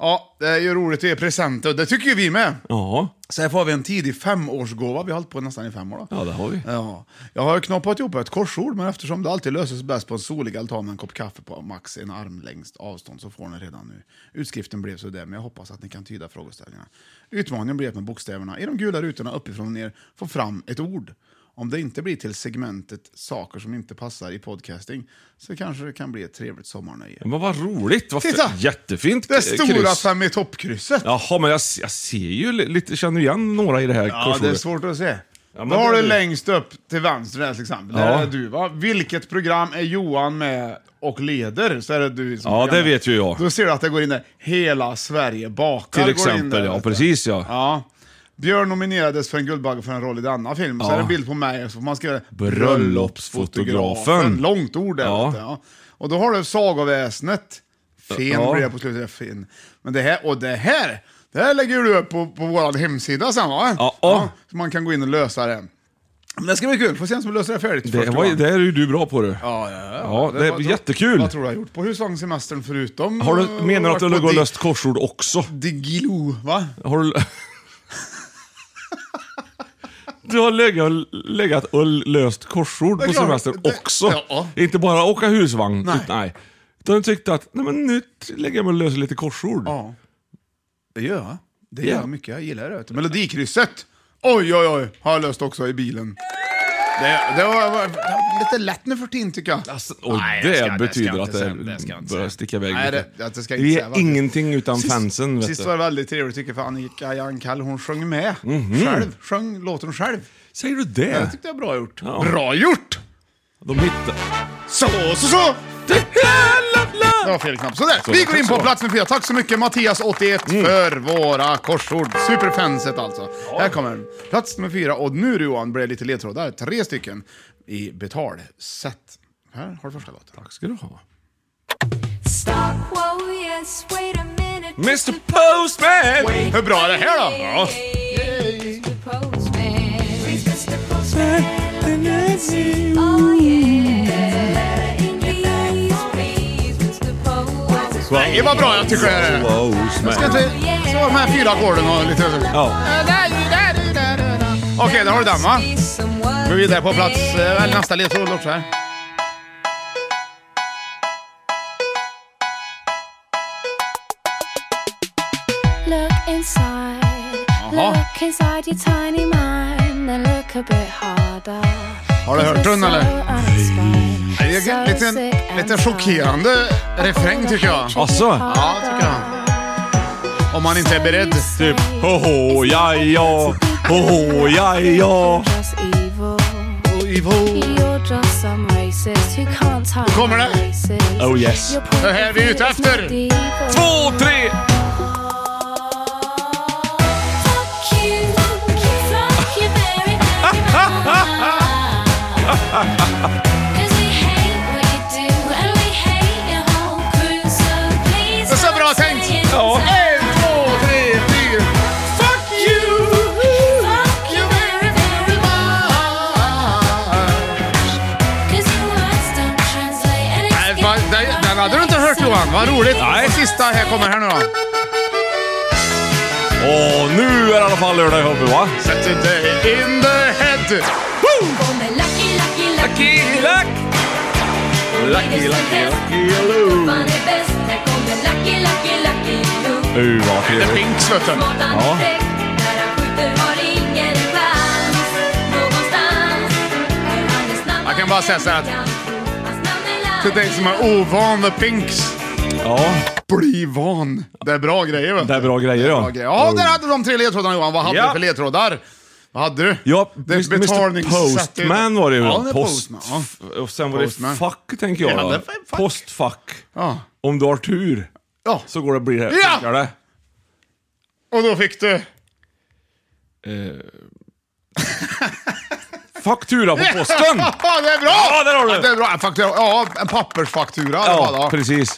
[SPEAKER 2] Ja, det är ju roligt att ge presenter och det tycker ju vi med.
[SPEAKER 1] Ja.
[SPEAKER 2] Så här får vi en tidig femårsgåva, vi har hållit på nästan i fem år. Då.
[SPEAKER 1] Ja, det har vi.
[SPEAKER 2] Ja. Jag har knoppat ihop ett korsord, men eftersom det alltid löses bäst på en solig altan med en kopp kaffe på max en armlängds avstånd så får ni redan nu. Utskriften blev så där, men jag hoppas att ni kan tyda frågeställningarna. Utmaningen blir att med bokstäverna i de gula rutorna uppifrån och ner få fram ett ord. Om det inte blir till segmentet saker som inte passar i podcasting så kanske det kan bli ett trevligt sommarnöje.
[SPEAKER 1] Men vad roligt. Vad
[SPEAKER 2] Titta!
[SPEAKER 1] Jättefint eh,
[SPEAKER 2] Det stora
[SPEAKER 1] kryss.
[SPEAKER 2] fem i toppkrysset!
[SPEAKER 1] Jaha, men jag, jag ser ju li- lite, känner igen några i det här
[SPEAKER 2] Ja,
[SPEAKER 1] korsordet.
[SPEAKER 2] det är svårt att se.
[SPEAKER 1] men
[SPEAKER 2] Då har
[SPEAKER 1] det-
[SPEAKER 2] du längst upp till vänster där till exempel. Där
[SPEAKER 1] Ja.
[SPEAKER 2] är du va? Vilket program är Johan med och leder? Så är det du som
[SPEAKER 1] Ja, det
[SPEAKER 2] programledare.
[SPEAKER 1] vet ju jag.
[SPEAKER 2] Då ser du att det går in där, Hela Sverige bakar
[SPEAKER 1] Till
[SPEAKER 2] går in där,
[SPEAKER 1] exempel, ja
[SPEAKER 2] vet du.
[SPEAKER 1] precis ja.
[SPEAKER 2] ja. Björn nominerades för en Guldbagge för en roll i denna film. Så
[SPEAKER 1] Ja.
[SPEAKER 2] är det en bild på mig och så får man skriva
[SPEAKER 1] Bröllopsfotografen.
[SPEAKER 2] Långt ord där.
[SPEAKER 1] Ja.
[SPEAKER 2] vet du, Ja. Och då har du Sagoväsnet. Fen
[SPEAKER 1] Ja.
[SPEAKER 2] blir det på slutet. Fin. Men det här, och det här, det här lägger du upp på, på vår hemsida sen va?
[SPEAKER 1] Ja.
[SPEAKER 2] Så man kan gå in och lösa det. Men det ska bli kul, får se vem som löser det
[SPEAKER 1] Det,
[SPEAKER 2] färdigt först.
[SPEAKER 1] var, ju-
[SPEAKER 2] Johan.
[SPEAKER 1] det är ju du bra på du.
[SPEAKER 2] Ja, ja, ja.
[SPEAKER 1] Ja, det är
[SPEAKER 2] var-
[SPEAKER 1] jättekul.
[SPEAKER 2] Vad tror du jag har gjort på husvagnssemestern förutom...
[SPEAKER 1] Har
[SPEAKER 2] eh,
[SPEAKER 1] du, menar du att
[SPEAKER 2] varit
[SPEAKER 1] du har
[SPEAKER 2] på
[SPEAKER 1] gått och
[SPEAKER 2] Di-
[SPEAKER 1] löst korsord också?
[SPEAKER 2] Digilo, va?
[SPEAKER 1] Har du... Du har legat och, legat och löst korsord
[SPEAKER 2] Det är
[SPEAKER 1] på
[SPEAKER 2] klart,
[SPEAKER 1] semestern
[SPEAKER 2] det-
[SPEAKER 1] också.
[SPEAKER 2] ja.
[SPEAKER 1] Inte bara åka husvagn.
[SPEAKER 2] Nej.
[SPEAKER 1] Nej. nej. Utan du tyckte att, nej men nu lägger jag mig och löser lite korsord.
[SPEAKER 2] Ja. Det gör jag. Det gör
[SPEAKER 1] Ja.
[SPEAKER 2] jag mycket, jag gillar det. vet du. Melodikrysset! Oj, oj, oj, har jag löst också i bilen. Det, det, var, var lite lätt nu för tiden tycker jag.
[SPEAKER 1] Alltså, Och
[SPEAKER 2] Nej,
[SPEAKER 1] det,
[SPEAKER 2] jag ska- jag ska
[SPEAKER 1] betyder
[SPEAKER 2] inte
[SPEAKER 1] att det,
[SPEAKER 2] säga- det ska jag inte
[SPEAKER 1] börjar
[SPEAKER 2] säga.
[SPEAKER 1] sticka iväg
[SPEAKER 2] Nej,
[SPEAKER 1] lite.
[SPEAKER 2] det- att det ska jag inte
[SPEAKER 1] Vi
[SPEAKER 2] säga,
[SPEAKER 1] är
[SPEAKER 2] faktiskt.
[SPEAKER 1] ingenting utan fansen. Vet
[SPEAKER 2] Sist
[SPEAKER 1] du.
[SPEAKER 2] var det väldigt trevligt tycker jag, för Annika Jankall hon sjöng med.
[SPEAKER 1] Mhm.
[SPEAKER 2] Själv, sjöng låten själv.
[SPEAKER 1] Säger du det?
[SPEAKER 2] Det tyckte jag var bra gjort.
[SPEAKER 1] Ja.
[SPEAKER 2] Bra gjort!
[SPEAKER 1] De hittar...
[SPEAKER 2] Så, så, så! Det var fel knapp. Sådär,
[SPEAKER 1] Så,
[SPEAKER 2] vi går in
[SPEAKER 1] så.
[SPEAKER 2] på plats med fyra. Tack så mycket Mattias, 81, för våra korsord. Superfanset alltså. Här kommer plats nummer fyra. Och nu Johan, blir det lite ledtrådar. Tre stycken i betalsätt. Här har du första låten.
[SPEAKER 1] Tack ska du ha.
[SPEAKER 4] Mr Postman!
[SPEAKER 2] Hur bra är det här då?
[SPEAKER 4] Ja.
[SPEAKER 2] Det var bra, jag tycker det är det. Jag ska inte... Så de här fyra ackorden och lite...
[SPEAKER 1] Ja.
[SPEAKER 2] Okej, där har du den va? Går vidare på plats, eh, eller nästa ledtråd också här.
[SPEAKER 5] Look inside.
[SPEAKER 2] Jaha.
[SPEAKER 5] Look inside your tiny mind and look a bit harder.
[SPEAKER 2] Har du hört den eller? Det är en liten, lite chockerande refräng tycker jag.
[SPEAKER 1] Asså?
[SPEAKER 2] Ja, tycker jag. Om man inte är beredd.
[SPEAKER 1] Typ, hoho, ja, ja, hoho, ja, ja.
[SPEAKER 5] Just evil.
[SPEAKER 2] Evil.
[SPEAKER 5] You're just some racist who can't hide
[SPEAKER 2] kommer det.
[SPEAKER 5] your races.
[SPEAKER 1] Oh yes.
[SPEAKER 5] Your point
[SPEAKER 2] Det här är vi
[SPEAKER 5] of
[SPEAKER 2] ute
[SPEAKER 5] view is not
[SPEAKER 2] efter.
[SPEAKER 5] evil.
[SPEAKER 1] Två, tre!
[SPEAKER 5] Fuck you, fuck you very, very much. 'Cause we hate what you do and we hate your whole crew, so please
[SPEAKER 2] Det är så bra tänkt! Ja. En, två, tre, fyra. Fuck you!
[SPEAKER 5] fuck you very, very much. 'Cause your words don't translate and it's
[SPEAKER 2] Nej, va, det- den hade du inte hört Johan, vad roligt. Och sista här kommer här nu då.
[SPEAKER 1] Åh, nu är det i alla fall lördag i Hörby va?
[SPEAKER 2] Sätt dig in the head. Woo!
[SPEAKER 5] getting lucky, lucky, lucky.
[SPEAKER 1] Lucky, lucky, lucky, hello.
[SPEAKER 5] Fan är bäst, här kommer lucky, lucky, lucky Luke.
[SPEAKER 1] Uh, vad
[SPEAKER 2] Det är
[SPEAKER 1] trevligt.
[SPEAKER 2] Binks vet du.
[SPEAKER 1] Ja.
[SPEAKER 2] Jag kan bara säga så här att- Till dig som är ovan vid Pinks. Ja. Bli van. Det är bra grejer vet du.
[SPEAKER 1] Det är bra grejer ja.
[SPEAKER 2] Bra grejer. Ja, där hade du de tre ledtrådarna Johan. Vad hade
[SPEAKER 1] Ja.
[SPEAKER 2] du för ledtrådar? Vad hade du?
[SPEAKER 1] Ja,
[SPEAKER 2] Det är
[SPEAKER 1] Mr
[SPEAKER 2] betalningssätt-
[SPEAKER 1] Postman var det ju.
[SPEAKER 2] Ja, det är
[SPEAKER 1] Post-
[SPEAKER 2] Postman. Ja.
[SPEAKER 1] Och sen var
[SPEAKER 2] Postman.
[SPEAKER 1] det fack, tänker jag.
[SPEAKER 2] Ja,
[SPEAKER 1] då.
[SPEAKER 2] det är fack.
[SPEAKER 1] Postfack.
[SPEAKER 2] Ja.
[SPEAKER 1] Om du har tur
[SPEAKER 2] Ja.
[SPEAKER 1] så går det bli det.
[SPEAKER 2] Ja!
[SPEAKER 1] funkar det.
[SPEAKER 2] Och då fick du...
[SPEAKER 1] Eh. Faktura på posten!
[SPEAKER 2] Ja, det är bra!
[SPEAKER 1] Ja, där har du.
[SPEAKER 2] Ja, det är bra. En Faktura, ja, en pappersfaktura. i alla fall,
[SPEAKER 1] Ja,
[SPEAKER 2] ja.
[SPEAKER 1] precis.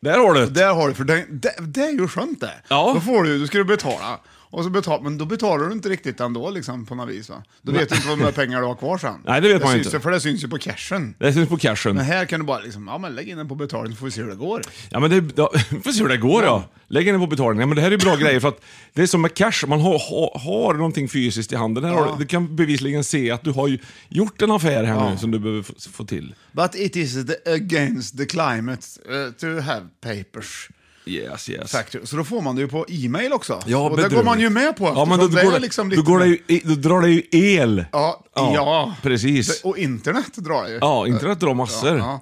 [SPEAKER 1] Där har du det.
[SPEAKER 2] Där har du, för det, det, det är ju skönt det.
[SPEAKER 1] Ja.
[SPEAKER 2] Då får du, då ska du betala. Och så betal, men då betalar du inte riktigt ändå liksom, på något vis. Va? Då vet du inte vad de här pengarna du har kvar sen.
[SPEAKER 1] Nej, det vet man ju
[SPEAKER 2] syns
[SPEAKER 1] inte.
[SPEAKER 2] ju- För det syns ju på cashen.
[SPEAKER 1] Det syns på cashen.
[SPEAKER 2] Men här kan du bara liksom, ja men lägg in den på betalning så får vi se hur det går.
[SPEAKER 1] Ja, men det, ja, vi får se hur det går ja. Lägg in den på betalningen. Men det här är bra grejer för att det är som med cash, man har, har, har någonting fysiskt i handen. Här har, du- du kan bevisligen se att du har ju gjort en affär här nu som du behöver få, få till.
[SPEAKER 2] But it is the, against the climate
[SPEAKER 1] uh,
[SPEAKER 2] eh, to have papers.
[SPEAKER 1] Yes, yes.
[SPEAKER 2] Factor. Så då får man det ju på e-mail också.
[SPEAKER 1] Ja,
[SPEAKER 2] och det
[SPEAKER 1] bedrövligt.
[SPEAKER 2] går man ju med på
[SPEAKER 1] Ja, men då,
[SPEAKER 2] eftersom det
[SPEAKER 1] går
[SPEAKER 2] är
[SPEAKER 1] det,
[SPEAKER 2] liksom
[SPEAKER 1] då,
[SPEAKER 2] lite-
[SPEAKER 1] går det ju, i- då drar det ju el.
[SPEAKER 2] Ja, ja.
[SPEAKER 1] Precis.
[SPEAKER 2] Det- Och internet drar ju.
[SPEAKER 1] Ja, internet drar massor.
[SPEAKER 2] Ja, ja.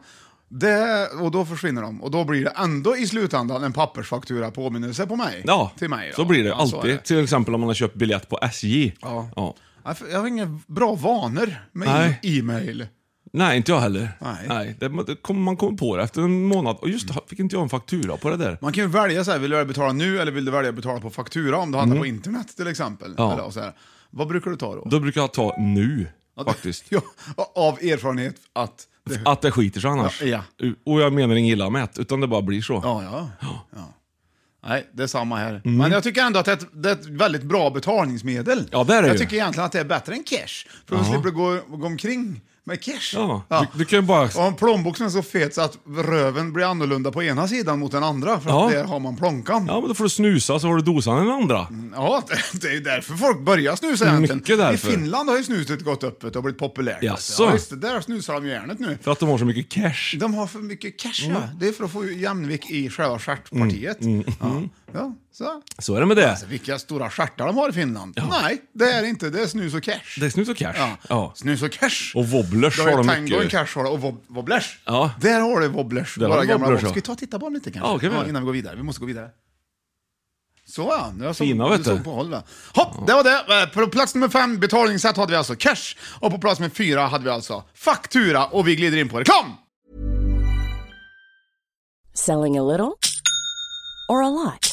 [SPEAKER 2] Det, och då försvinner de. Och då blir det ändå i slutändan en pappersfaktura påminnelse på mig.
[SPEAKER 1] Ja,
[SPEAKER 2] till mig då.
[SPEAKER 1] så blir det
[SPEAKER 2] Ja, så är
[SPEAKER 1] alltid. Till exempel om man har köpt biljett på SJ.
[SPEAKER 2] Ja.
[SPEAKER 1] Ja.
[SPEAKER 2] Ja, för Jag har inga bra vanor med
[SPEAKER 1] Nej.
[SPEAKER 2] e- e-mail.
[SPEAKER 1] Nej, inte jag heller.
[SPEAKER 2] Nej.
[SPEAKER 1] det, det kom, man kommer på det efter en månad. Och just det, fick inte jag en faktura på det där?
[SPEAKER 2] Man kan ju välja så här, vill du välja betala nu eller vill du välja betala på faktura om du handlar på internet till exempel.
[SPEAKER 1] Mm. Ja.
[SPEAKER 2] Eller, så här. Vad brukar du ta då?
[SPEAKER 1] Då brukar jag ta nu,
[SPEAKER 2] Ja, det-
[SPEAKER 1] faktiskt.
[SPEAKER 2] Ja, av erfarenhet att... Det,
[SPEAKER 1] Att det skiter sig annars.
[SPEAKER 2] Ja,
[SPEAKER 1] Och jag menar inget illa med det, utan det bara blir så.
[SPEAKER 2] ja, ja. ja. Nej, det är samma här.
[SPEAKER 1] Mm.
[SPEAKER 2] Men jag tycker ändå att det är, ett, det är ett väldigt bra betalningsmedel.
[SPEAKER 1] Ja, det är det
[SPEAKER 2] jag
[SPEAKER 1] ju.
[SPEAKER 2] tycker egentligen att det är bättre än cash. För då
[SPEAKER 1] Ja.
[SPEAKER 2] slipper gå, gå omkring med cash.
[SPEAKER 1] Ja, Du, du kan ju bara...
[SPEAKER 2] Och en plånbok som är så fet så att röven blir annorlunda på ena sidan mot den andra. För att
[SPEAKER 1] Ja.
[SPEAKER 2] där har man plånkan.
[SPEAKER 1] Ja, men då får du snusa så har du dosan den andra.
[SPEAKER 2] Ja, det, det är ju därför folk börjar snusa egentligen.
[SPEAKER 1] Mycket därför.
[SPEAKER 2] I Finland har ju snuset gått öppet och blärligt populärt.
[SPEAKER 1] Jaså?
[SPEAKER 2] Ja, visst, där snusar de ju järnet nu.
[SPEAKER 1] För att de har så mycket cash.
[SPEAKER 2] De har för mycket cash, ja.
[SPEAKER 1] Mm.
[SPEAKER 2] Det är för att få jämvikt i själva stjärtpartiet.
[SPEAKER 1] mm.
[SPEAKER 2] Ja. ja, så.
[SPEAKER 1] Så är det med det.
[SPEAKER 2] Alltså, vilka stora stjärtar de har i Finland. Nej, det är det inte. Det är snus och cash.
[SPEAKER 1] Det är snus och cash.
[SPEAKER 2] Ja.
[SPEAKER 1] Ja.
[SPEAKER 2] Snus och cash.
[SPEAKER 1] Och wobblers
[SPEAKER 2] Då
[SPEAKER 1] har
[SPEAKER 2] är
[SPEAKER 1] de
[SPEAKER 2] tango en
[SPEAKER 1] mycket.
[SPEAKER 2] cash har det, och wob- wobblers.
[SPEAKER 1] Ja.
[SPEAKER 2] Där har du wobblers.
[SPEAKER 1] Där har
[SPEAKER 2] Våra
[SPEAKER 1] du
[SPEAKER 2] gamla
[SPEAKER 1] wobblers,
[SPEAKER 2] wobblers.
[SPEAKER 1] ja.
[SPEAKER 2] Ska vi ta och titta på dem lite kanske?
[SPEAKER 1] Ja, kan vi göra.
[SPEAKER 2] innan vi går vidare. Vi måste gå vidare. Så ja, nu har jag
[SPEAKER 1] Fina,
[SPEAKER 2] såg,
[SPEAKER 1] vet
[SPEAKER 2] du
[SPEAKER 1] du.
[SPEAKER 2] såg på håll va? Hopp, det var det. Eh, På plats nummer fem, betalningssätt, hade vi alltså cash. Och på plats nummer fyra hade vi alltså faktura. Och vi glider in på reklam!
[SPEAKER 12] Selling a little or a lot?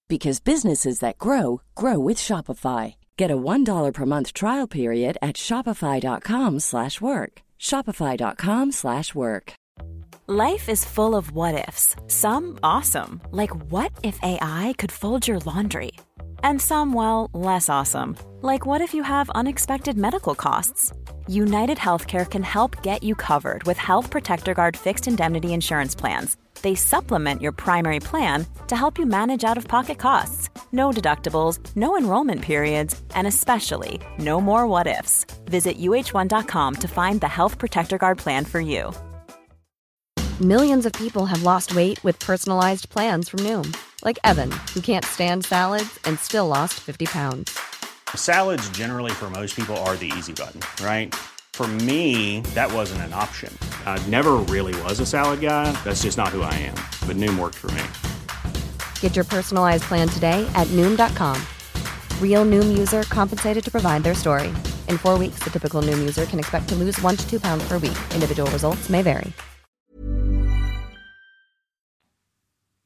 [SPEAKER 12] because businesses that grow grow with Shopify. Get a $1 per month trial period at shopify.com/work. slash work. shopify.com/work. slash work.
[SPEAKER 13] Life is full of what ifs. Some awesome, like what if AI could fold your laundry? And some, well, less awesome, like what if you have unexpected medical costs? United Healthcare can help get you covered with Health Protector Guard fixed indemnity insurance plans. They supplement your primary plan to help you manage out of pocket costs. No deductibles, no enrollment periods, and especially no more what ifs. Visit uh1.com to find the Health Protector Guard plan for you.
[SPEAKER 14] Millions of people have lost weight with personalized plans from Noom, like Evan, who can't stand salads and still lost 50 pounds.
[SPEAKER 15] Salads, generally, for most people, are the easy button, right? For me, that wasn't an option. I never really was a salad guy. That's just not who I am. But Noom worked for me.
[SPEAKER 14] Get your personalized plan today at Noom.com. Real Noom user compensated to provide their story. In four weeks, the typical Noom user can expect to lose one to two pounds per week. Individual results may vary.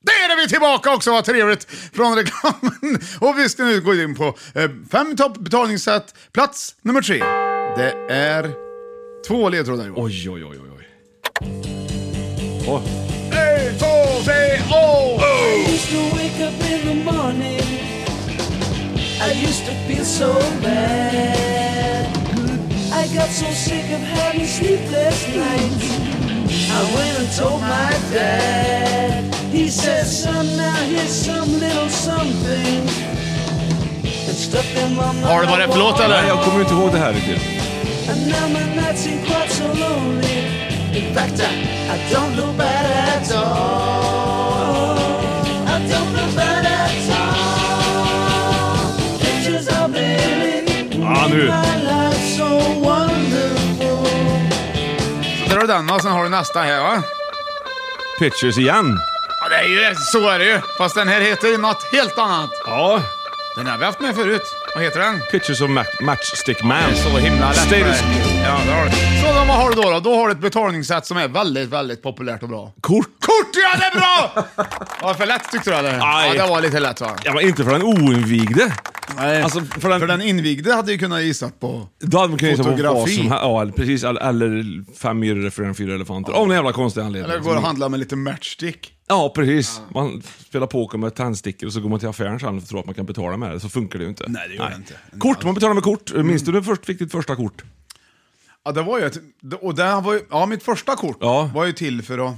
[SPEAKER 2] Där är vi tillbaka också, vad trevligt! Från reklamen. Och vi ska nu gå in på eh, fem topp betalningssätt, plats nummer tre. Det är två ledtrådar Johan.
[SPEAKER 1] Oj, oj, oj, oj. oj.
[SPEAKER 2] En, två, tre, åh!
[SPEAKER 5] I used to wake up in the morning. I used to feel so bad. I got so sick of having sleepless nights. I went and told my dad. He says, son, now here's some little something. That's stuck in my mind.
[SPEAKER 2] Har du vad det är för låt eller?
[SPEAKER 1] Nej, jag kommer inte ihåg det här riktigt.
[SPEAKER 5] And now my nights ain't quite so lonely. In fact, I, I don't look bad at all. I don't look bad at all. Pictures of Lily.
[SPEAKER 1] Ah, nu.
[SPEAKER 5] My life's so wonderful.
[SPEAKER 2] Så Där har du den och sen har du nästa här va?
[SPEAKER 1] Pictures igen.
[SPEAKER 2] Ja, det är ju, så är det ju. Fast den här heter ju något helt annat.
[SPEAKER 1] Ja.
[SPEAKER 2] Den har vi haft med förut. Vad heter den?
[SPEAKER 1] Pictures of ma- Matchstick Man.
[SPEAKER 2] Det är så himla lätt.
[SPEAKER 1] Status
[SPEAKER 2] det här. Ja, det har du. Så då, vad har du då, då? Då har du ett betalningssätt som är väldigt, väldigt populärt och bra.
[SPEAKER 1] Kort.
[SPEAKER 2] Kort, ja det är bra! Var det för lätt tyckte du eller?
[SPEAKER 1] Aj.
[SPEAKER 2] Ja, det var lite lätt va?
[SPEAKER 1] Ja, men inte för den oinvigde.
[SPEAKER 2] Nej.
[SPEAKER 1] Alltså, för den,
[SPEAKER 2] För den invigde hade ju kunnat gissa på...
[SPEAKER 1] då hade man kunnat gissa på vad
[SPEAKER 2] Fotografi.
[SPEAKER 1] som helst. Ja, eller precis. Eller, eller fem myror för en fyra elefanter. Av någon jävla konstig anledning.
[SPEAKER 2] Eller går och handlar med lite matchstick.
[SPEAKER 1] Ja, precis. Man spelar poker med tändstickor och så går man till affären sen och tror att man kan betala med det. Så funkar det ju inte.
[SPEAKER 2] Nej, det gör det inte. Mm.
[SPEAKER 1] Kort, man betalar med kort. Minns du när du först fick ditt första kort?
[SPEAKER 2] Ja, det var ju ett... Och det här var ju, ja, mitt första kort
[SPEAKER 1] Ja.
[SPEAKER 2] var ju till för att...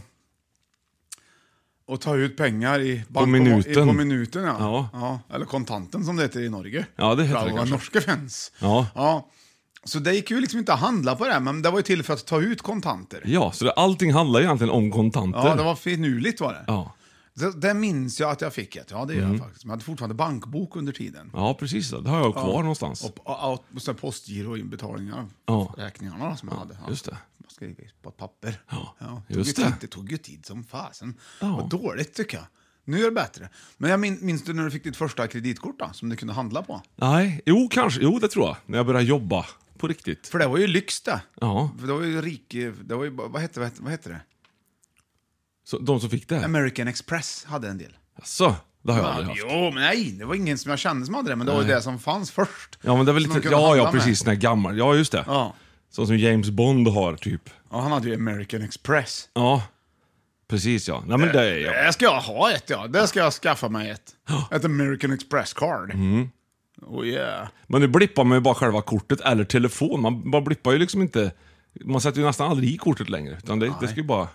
[SPEAKER 2] Att ta ut pengar i bank-
[SPEAKER 1] minuten.
[SPEAKER 2] På minuten ja.
[SPEAKER 1] Ja.
[SPEAKER 2] Eller kontanten som det heter i Norge.
[SPEAKER 1] Ja, det heter
[SPEAKER 2] För
[SPEAKER 1] det
[SPEAKER 2] alla
[SPEAKER 1] kanske.
[SPEAKER 2] norska fans.
[SPEAKER 1] Ja.
[SPEAKER 2] Ja. Så det gick ju liksom inte att handla på det, här, men det var ju till för att ta ut kontanter.
[SPEAKER 1] Ja, så det, allting handlar ju egentligen om kontanter.
[SPEAKER 2] Ja, det var finurligt var det.
[SPEAKER 1] Ja, Mm.
[SPEAKER 2] Det, det minns jag att jag fick ett, ja det gör jag faktiskt. Men jag hade fortfarande bankbok under tiden.
[SPEAKER 1] ja precis. Det har jag kvar
[SPEAKER 2] Ja.
[SPEAKER 1] någonstans.
[SPEAKER 2] Och, och, och, och sen postgiroinbetalningar,
[SPEAKER 1] Ja.
[SPEAKER 2] räkningarna som jag hade. Ja.
[SPEAKER 1] Just det.
[SPEAKER 2] Man skrev på ett papper. Ja, tog
[SPEAKER 1] just
[SPEAKER 2] ju
[SPEAKER 1] det.
[SPEAKER 2] Tid, det tog ju tid som fasen.
[SPEAKER 1] Ja.
[SPEAKER 2] Vad dåligt tycker jag. Nu är det bättre. Men jag min, minns du när du fick ditt första kreditkort då, som du kunde handla på?
[SPEAKER 1] Nej, jo kanske. Jo, det tror jag. När jag började jobba på riktigt.
[SPEAKER 2] För det var ju lyx det.
[SPEAKER 1] Ja,
[SPEAKER 2] För det var ju rik... Det var ju, bara- vad, hette, vad, hette, vad hette det?
[SPEAKER 1] så de som fick det? här.
[SPEAKER 2] American Express hade en del.
[SPEAKER 1] Jaså, det har jag aldrig haft.
[SPEAKER 2] Jo, men nej, det var ingen som jag kände som hade det, men det var ju det som fanns först.
[SPEAKER 1] Ja, men det var
[SPEAKER 2] Som de
[SPEAKER 1] lite...
[SPEAKER 2] kunde
[SPEAKER 1] Ja, ja,
[SPEAKER 2] handla med.
[SPEAKER 1] precis. Den här gammal. Ja, just det.
[SPEAKER 2] Ja.
[SPEAKER 1] Sån som James Bond har, typ.
[SPEAKER 2] ja, han hade ju American Express.
[SPEAKER 1] Ja, precis ja. Nej, men det är jag.
[SPEAKER 2] Det ska jag ha ett, ja. Det ska jag skaffa mig ett. Ett American Express-card.
[SPEAKER 1] Mm.
[SPEAKER 2] Oh yeah.
[SPEAKER 1] Men nu blippar man ju bara själva kortet eller telefon. Man bara blippar ju liksom inte... Man sätter ju nästan aldrig i kortet längre. Utan det, det ska ju bara...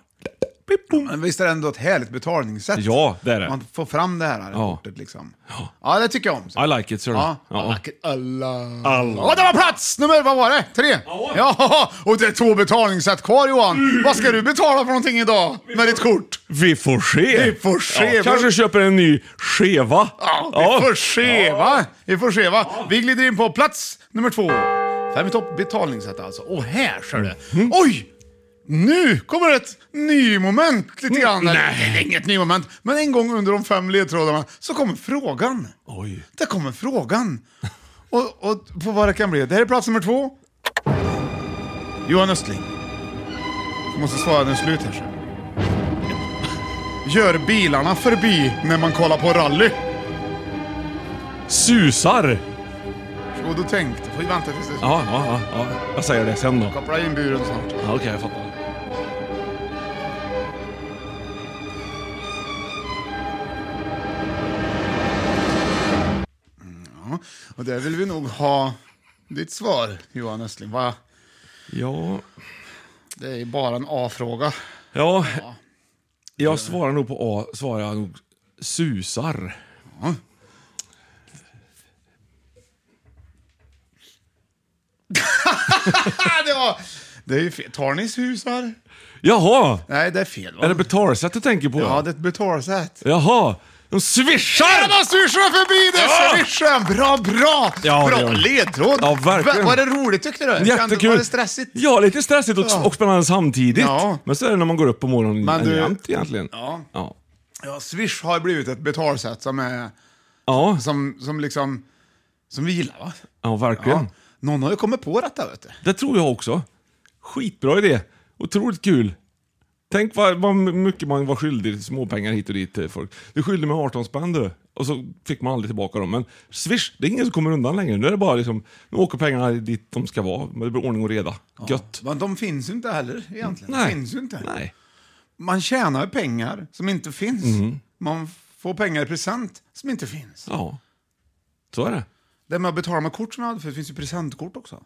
[SPEAKER 2] Men visst är det ändå ett härligt betalningssätt?
[SPEAKER 1] Ja, det är det.
[SPEAKER 2] Man får fram det här, här
[SPEAKER 1] Ja.
[SPEAKER 2] kortet liksom. Ja, det tycker jag om.
[SPEAKER 1] I like it, sir.
[SPEAKER 2] Ja,
[SPEAKER 1] Ja.
[SPEAKER 2] alla... alla. Och det var plats nummer, vad var det? Tre? Ja, och det är två betalningssätt kvar Johan. Vad ska du betala för någonting idag med ditt kort?
[SPEAKER 1] Vi får se.
[SPEAKER 2] Vi får se.
[SPEAKER 1] Ja, kanske köper en ny skeva.
[SPEAKER 2] Ja, vi får se va? Vi får se va? Vi glider in på plats nummer två. Fem i topp betalningssätt alltså. Och här ser du. Oj! Nu kommer ett nymoment lite grann. Eller, det är inget nymoment, men en gång under de fem ledtrådarna så kommer frågan.
[SPEAKER 1] Oj.
[SPEAKER 2] Där kommer frågan. Och, och på vad det kan bli. Det här är plats nummer två. Johan Östling. Jag måste svara den slut här sen. Gör bilarna förbi när man kollar på rally.
[SPEAKER 1] Susar.
[SPEAKER 2] Och då tänkte, får ju vänta tills det
[SPEAKER 1] Ja, ja, ja, ja. Jag säger det sen då. Ja,
[SPEAKER 2] Koppla in buren snart.
[SPEAKER 1] Okej, jag fattar.
[SPEAKER 2] Och där vill vi nog ha ditt svar, Johan Östling. Va?
[SPEAKER 1] Ja,
[SPEAKER 2] Det är ju bara en A-fråga.
[SPEAKER 1] ja. Jag svarar nog på A, svarar jag nog susar.
[SPEAKER 2] Ah, det var... Det är ju fel. Tarnis husar?
[SPEAKER 1] Jaha!
[SPEAKER 2] Nej, det är fel va?
[SPEAKER 1] Är det betalsätt du tänker på?
[SPEAKER 2] Ja, det är ett betalsätt.
[SPEAKER 1] Jaha! De swishar!
[SPEAKER 2] Ja, man swishar förbi det!
[SPEAKER 1] Ja!
[SPEAKER 2] Swishar! Bra, bra!
[SPEAKER 1] Ja, det
[SPEAKER 2] bra
[SPEAKER 1] gör det.
[SPEAKER 2] ledtråd!
[SPEAKER 1] Ja, verkligen.
[SPEAKER 2] Va- Var det roligt tyckte du?
[SPEAKER 1] Jättekul!
[SPEAKER 2] Var det stressigt?
[SPEAKER 1] Ja, lite stressigt och,
[SPEAKER 2] Ja.
[SPEAKER 1] och spännande samtidigt.
[SPEAKER 2] Ja.
[SPEAKER 1] Men så är det när man går upp på morgonen
[SPEAKER 2] Men du-
[SPEAKER 1] jämt egentligen.
[SPEAKER 2] Ja.
[SPEAKER 1] Ja.
[SPEAKER 2] Ja, Swish har blivit ett betalsätt som är...
[SPEAKER 1] Ja,
[SPEAKER 2] Som, som liksom... Som vi gillar va?
[SPEAKER 1] ja verkligen.
[SPEAKER 2] Ja. Någon har ju kommit på detta vet du.
[SPEAKER 1] Det tror jag också. Skitbra idé. Otroligt kul. Tänk vad, vad mycket man var skyldig småpengar hit och dit till folk. Du skyllde mig 18 spänn du. Och så fick man aldrig tillbaka dem. Men swish, det är ingen som kommer undan längre. Nu är det bara liksom, nu åker pengarna dit de ska vara. Men det blir ordning och reda. Gött.
[SPEAKER 2] Men de finns ju inte heller egentligen.
[SPEAKER 1] Nej.
[SPEAKER 2] De finns ju inte.
[SPEAKER 1] Nej.
[SPEAKER 2] Man tjänar ju pengar som inte finns.
[SPEAKER 1] Mm.
[SPEAKER 2] Man får pengar i present som inte finns.
[SPEAKER 1] Ja. Så är det.
[SPEAKER 2] Det med att betala med kort som jag hade,
[SPEAKER 1] Mm.
[SPEAKER 2] för det finns ju presentkort också.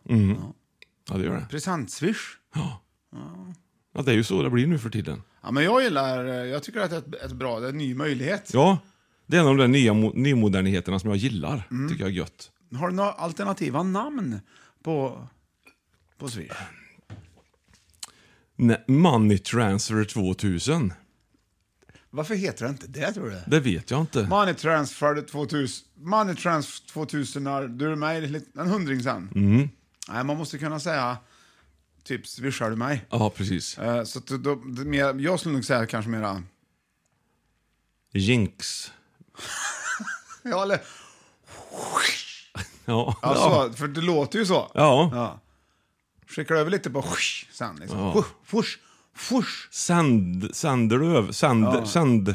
[SPEAKER 1] Ja, det gör det.
[SPEAKER 2] Presentswish.
[SPEAKER 1] Ja, det är ju så det blir nu för tiden.
[SPEAKER 2] Ja, men jag gillar, eh, jag tycker att det är ett, ett bra, det är en ny möjlighet.
[SPEAKER 1] Ja, det är en av de där nya mo- nymoderniteterna som jag gillar.
[SPEAKER 2] Mm.
[SPEAKER 1] tycker jag är gött.
[SPEAKER 2] Har du några alternativa namn på, på Swish?
[SPEAKER 1] Nej, Money Transfer 2000.
[SPEAKER 2] Varför heter det inte det tror du?
[SPEAKER 1] Det vet jag inte.
[SPEAKER 2] Money Transfer 2000, Money Transfer 2000, är- du är mig lite- en hundring sen.
[SPEAKER 1] Mm.
[SPEAKER 2] Nej, man måste kunna säga typ swishar du mig?
[SPEAKER 1] Ja, precis.
[SPEAKER 2] Eh, Så att då, det är mer, jag skulle nog säga kanske mera,
[SPEAKER 1] Jinx.
[SPEAKER 2] ja eller,
[SPEAKER 1] Ja.
[SPEAKER 2] ja, så, för det låter ju så.
[SPEAKER 1] Ja.
[SPEAKER 2] Skickar över lite på swish sen liksom.
[SPEAKER 1] Ja.
[SPEAKER 2] Fush, fush, fush.
[SPEAKER 1] Sand, Sanderlöv. Sand,
[SPEAKER 2] Ja.
[SPEAKER 1] sand.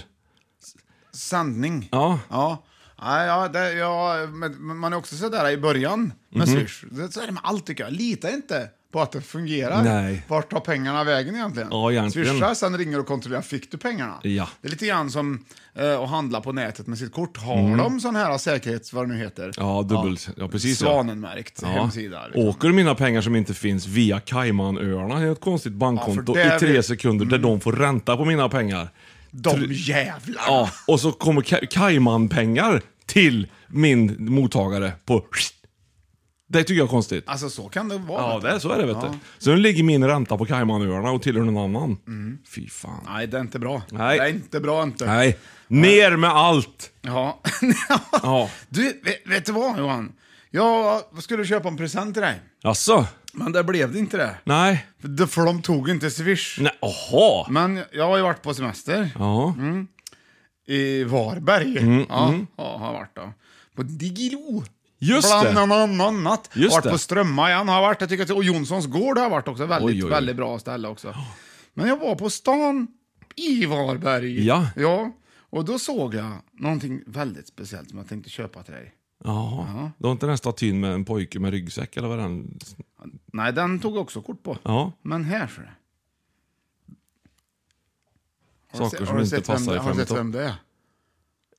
[SPEAKER 2] Sandning.
[SPEAKER 1] Ja.
[SPEAKER 2] Ja. Nej, ja, det, ja, men men man är också sådär i början med
[SPEAKER 1] Mhm.
[SPEAKER 2] Swish. Det, så är det med allt tycker jag. Lita inte på att det fungerar.
[SPEAKER 1] Nej.
[SPEAKER 2] Vart tar pengarna vägen egentligen?
[SPEAKER 1] Ja, egentligen.
[SPEAKER 2] Swisha, sen ringer och kontrollerar, fick du pengarna?
[SPEAKER 1] Ja.
[SPEAKER 2] Det är lite grann som eh, att handla på nätet med sitt kort. Har
[SPEAKER 1] Mm.
[SPEAKER 2] de sån här säkerhets, vad det nu heter?
[SPEAKER 1] Ja, dubbelt. Ja, precis. ja.
[SPEAKER 2] Svanenmärkt
[SPEAKER 1] Ja.
[SPEAKER 2] hemsida. liksom.
[SPEAKER 1] Åker mina pengar som inte finns via Caymanöarna till ett konstigt bankkonto
[SPEAKER 2] Ja, för det
[SPEAKER 1] i tre
[SPEAKER 2] vill-
[SPEAKER 1] sekunder där de får ränta på mina pengar.
[SPEAKER 2] De jävlarna!
[SPEAKER 1] Ja, och så kommer Ca- Caymanpengar till min mottagare på... Det tycker jag är konstigt.
[SPEAKER 2] Alltså så kan det vara.
[SPEAKER 1] Ja,
[SPEAKER 2] vet du.
[SPEAKER 1] det är, så är det vet
[SPEAKER 2] Ja.
[SPEAKER 1] du. Så nu ligger min ränta på Caymanöarna och tillhör någon annan.
[SPEAKER 2] Mm.
[SPEAKER 1] Fy fan.
[SPEAKER 2] Nej, det är inte bra.
[SPEAKER 1] Nej.
[SPEAKER 2] Det är inte bra inte.
[SPEAKER 1] Nej, ner med allt!
[SPEAKER 2] Ja.
[SPEAKER 1] Ja.
[SPEAKER 2] Du, vet, vet du vad Johan? Jag skulle köpa en present till dig.
[SPEAKER 1] Jaså?
[SPEAKER 2] Men det blev det inte det.
[SPEAKER 1] Nej.
[SPEAKER 2] För de- För de tog inte Swish.
[SPEAKER 1] Nej, aha.
[SPEAKER 2] Men jag har ju varit på semester.
[SPEAKER 1] Ja.
[SPEAKER 2] Mm. I Varberg.
[SPEAKER 1] Mm,
[SPEAKER 2] ja,
[SPEAKER 1] mm.
[SPEAKER 2] ja, har jag varit då. På Digilo.
[SPEAKER 1] Just det.
[SPEAKER 2] Bland annat.
[SPEAKER 1] Just
[SPEAKER 2] varit
[SPEAKER 1] det.
[SPEAKER 2] på Strömma igen har jag varit. Jag tycker att, och Jonssons gård har jag varit också. Väldigt,
[SPEAKER 1] Oj, oj, oj.
[SPEAKER 2] väldigt bra ställe också. Men jag var på stan i Varberg.
[SPEAKER 1] Ja.
[SPEAKER 2] ja. Och då såg jag någonting väldigt speciellt som jag tänkte köpa till dig.
[SPEAKER 1] Jaha. Du har inte den här statyn med en pojke med ryggsäck eller vad den...
[SPEAKER 2] Nej, den tog jag också kort på.
[SPEAKER 1] Ja.
[SPEAKER 2] Men här ser du. Har du
[SPEAKER 1] Saker
[SPEAKER 2] se-
[SPEAKER 1] som
[SPEAKER 2] har du
[SPEAKER 1] inte
[SPEAKER 2] sett vem-
[SPEAKER 1] passar i
[SPEAKER 2] Har du sett
[SPEAKER 1] femton.
[SPEAKER 2] vem det är?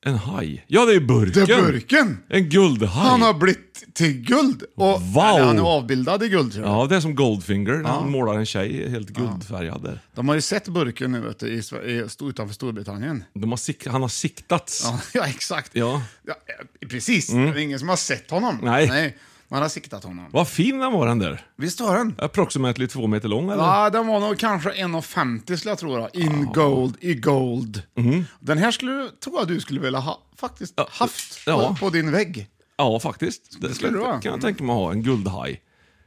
[SPEAKER 1] En haj. Ja, det är burken!
[SPEAKER 2] Det är burken!
[SPEAKER 1] En guldhaj.
[SPEAKER 2] Han har blivit till guld. Och,
[SPEAKER 1] Wow.
[SPEAKER 2] eller, han är avbildad i guld. tror jag.
[SPEAKER 1] Ja, det är som Goldfinger när
[SPEAKER 2] Ja.
[SPEAKER 1] han målar en tjej helt guldfärgad. där.
[SPEAKER 2] De har ju sett burken nu vet du, i, Sve- i, sto- utanför Storbritannien.
[SPEAKER 1] De har sik- han har siktats.
[SPEAKER 2] Ja, ja exakt.
[SPEAKER 1] Ja.
[SPEAKER 2] Ja, eh, precis,
[SPEAKER 1] Mm.
[SPEAKER 2] det är ingen som har sett honom.
[SPEAKER 1] Nej.
[SPEAKER 2] Man har siktat honom.
[SPEAKER 1] Vad fin den var den där.
[SPEAKER 2] Visst var den?
[SPEAKER 1] Approximately två meter lång eller?
[SPEAKER 2] Ja, den var nog kanske 1,50 skulle jag tro. Då. In gold, i gold. Den här skulle, du- tror jag du skulle vilja ha, faktiskt haft
[SPEAKER 1] Mm. ja.
[SPEAKER 2] på, på din vägg.
[SPEAKER 1] Ja, faktiskt. Det
[SPEAKER 2] skulle det vara.
[SPEAKER 1] skulle, kan
[SPEAKER 2] Mm.
[SPEAKER 1] jag tänka mig att ha, en guldhaj.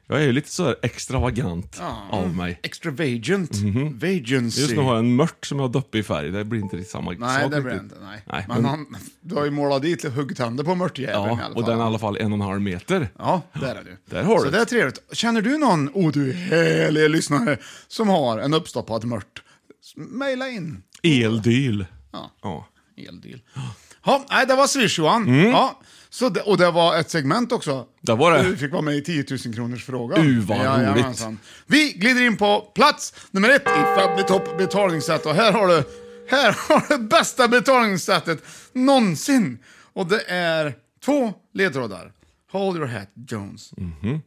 [SPEAKER 1] Jag är ju lite så här extravagant
[SPEAKER 2] Ja.
[SPEAKER 1] av mig.
[SPEAKER 2] Extravagant. Vagency.
[SPEAKER 1] Mhm. Just nu har jag en mört som jag döpt i färg, det blir inte riktigt samma
[SPEAKER 2] Nej,
[SPEAKER 1] sak.
[SPEAKER 2] det blir det
[SPEAKER 1] riktigt.
[SPEAKER 2] inte. Nej.
[SPEAKER 1] Nej,
[SPEAKER 2] men
[SPEAKER 1] men-
[SPEAKER 2] han, du har ju målat dit huggtänder på mörtjäveln i
[SPEAKER 1] Ja,
[SPEAKER 2] alla
[SPEAKER 1] och
[SPEAKER 2] fall.
[SPEAKER 1] den är i alla fall en och en halv meter.
[SPEAKER 2] Ja, där är du.
[SPEAKER 1] Där har
[SPEAKER 2] Så
[SPEAKER 1] du
[SPEAKER 2] det är trevligt. Känner du någon, oh du härliga lyssnare, som har en uppstoppad mört? S- Maila in.
[SPEAKER 1] Eldyl.
[SPEAKER 2] Ja.
[SPEAKER 1] Ja.
[SPEAKER 2] Eldyl. Ja, nej, det var Swish Johan. Ja. Så det, och det var ett segment också.
[SPEAKER 1] Mm. Det var det.
[SPEAKER 2] Du fick vara med i 10 000 kronors frågan.
[SPEAKER 1] Uh, vad
[SPEAKER 2] Jajamensan. Vi glider in på plats nummer ett i Family Top betalningssätt. Och här har du, här har du bästa betalningssättet någonsin. Och det är två ledtrådar. Hold your hat Jones.
[SPEAKER 1] Mhm.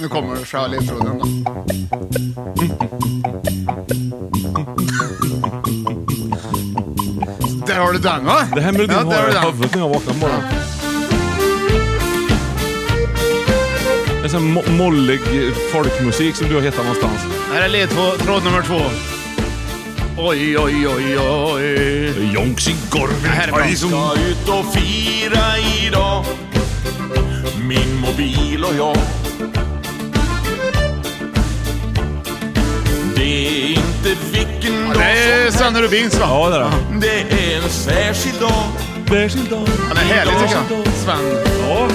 [SPEAKER 2] Nu kommer själva ledtråden. då. Där har du den va?
[SPEAKER 1] Det här melodin
[SPEAKER 2] Ja,
[SPEAKER 1] har
[SPEAKER 2] där har
[SPEAKER 1] jag i
[SPEAKER 2] du den.
[SPEAKER 1] huvudet när jag vaknar på morgonen. Det är sån mo- mollig eh, folkmusik som du har hittat någonstans.
[SPEAKER 2] Här är ledtråd nummer två. Oj, oj, oj, oj.
[SPEAKER 1] Jonks i
[SPEAKER 2] Här är bra.
[SPEAKER 4] Vi ska ut och fira idag Min mobil och jag Det är inte vilken dag
[SPEAKER 2] Det är Sanne Rubins va?
[SPEAKER 1] Ja, det är det.
[SPEAKER 4] som- Det är en särskild dag
[SPEAKER 1] Särskild dag.
[SPEAKER 2] Han är härlig tycker jag. Sven.
[SPEAKER 1] Ja.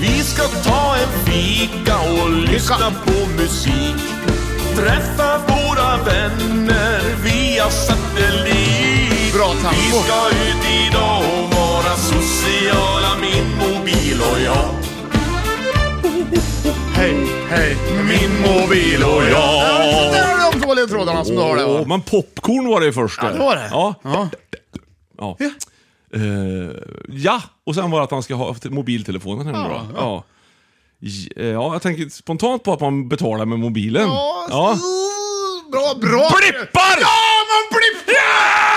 [SPEAKER 4] Vi ska ta en fika och lyssna på musik Träffa våra vänner via satellit
[SPEAKER 2] Bra tempo.
[SPEAKER 4] Vi ska ut idag och vara sociala, min mobil och jag
[SPEAKER 2] Hej, hej.
[SPEAKER 4] Min mobil och jag
[SPEAKER 2] Där har du de två ledtrådarna som du har där va?
[SPEAKER 1] Åh, men popcorn var det ju först.
[SPEAKER 2] Ja, det var det.
[SPEAKER 1] Ja.
[SPEAKER 2] Ja.
[SPEAKER 1] ja. Eh, ja, och sen var det att han ska ha mobiltelefonen hemma.
[SPEAKER 2] Ja,
[SPEAKER 1] Ja, ja. J- eh, ja, jag tänker spontant på att man betalar med mobilen.
[SPEAKER 2] Ja,
[SPEAKER 1] Ja.
[SPEAKER 2] Bra, bra!
[SPEAKER 1] Blippar!
[SPEAKER 2] Ja, man blippar!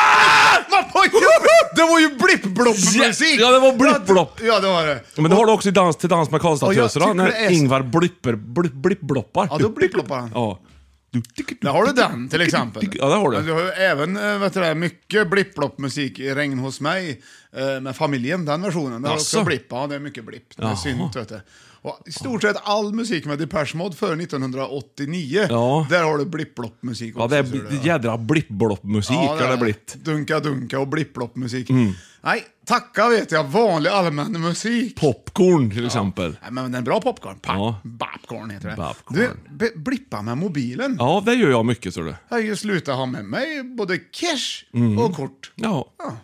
[SPEAKER 2] Man får ju, det var ju blipp-blopp-musik!
[SPEAKER 1] Ja, det var blipp-blopp.
[SPEAKER 2] Ja, det var det.
[SPEAKER 1] Men det har du också i dans till dans med
[SPEAKER 2] Och jag
[SPEAKER 1] Karlstad-töserna,
[SPEAKER 2] tycker
[SPEAKER 1] när
[SPEAKER 2] det är så-
[SPEAKER 1] Ingvar blipper, blipp, blippbloppar.
[SPEAKER 2] Ja, då blipp-bloppar han.
[SPEAKER 1] Ja.
[SPEAKER 2] Där har du den till exempel.
[SPEAKER 1] Ja, det har du.
[SPEAKER 2] Men du har ju även eh, vet du, det, mycket blipp-blopp-musik i Regn hos mig eh, med familjen, den versionen. Den har också
[SPEAKER 1] Jaså?
[SPEAKER 2] blipp, ja det är mycket blipp. Det är
[SPEAKER 1] Jaha.
[SPEAKER 2] synt vet du. Och I stort sett all musik med Depeche Mode före 1989,
[SPEAKER 1] Ja.
[SPEAKER 2] där har du blipp-blopp-musik
[SPEAKER 1] Ja, det är
[SPEAKER 2] också, ser du,
[SPEAKER 1] bl- jädra blippbloppmusik
[SPEAKER 2] Ja, det
[SPEAKER 1] har det
[SPEAKER 2] är
[SPEAKER 1] blivit.
[SPEAKER 2] Dunka dunka och blipp-blopp-musik.
[SPEAKER 1] Mm.
[SPEAKER 2] Nej, tacka vet jag, vanlig allmän musik.
[SPEAKER 1] Popcorn till exempel.
[SPEAKER 2] Nej, men den är bra popcorn. Pa-
[SPEAKER 1] Ja.
[SPEAKER 2] Popcorn heter det.
[SPEAKER 1] Popcorn.
[SPEAKER 2] Du, b- blippa med mobilen.
[SPEAKER 1] ja, det gör jag mycket, tror du.
[SPEAKER 2] Jag har ju slutat ha med mig både cash
[SPEAKER 1] Mm.
[SPEAKER 2] och kort.
[SPEAKER 1] Ja.
[SPEAKER 2] ja.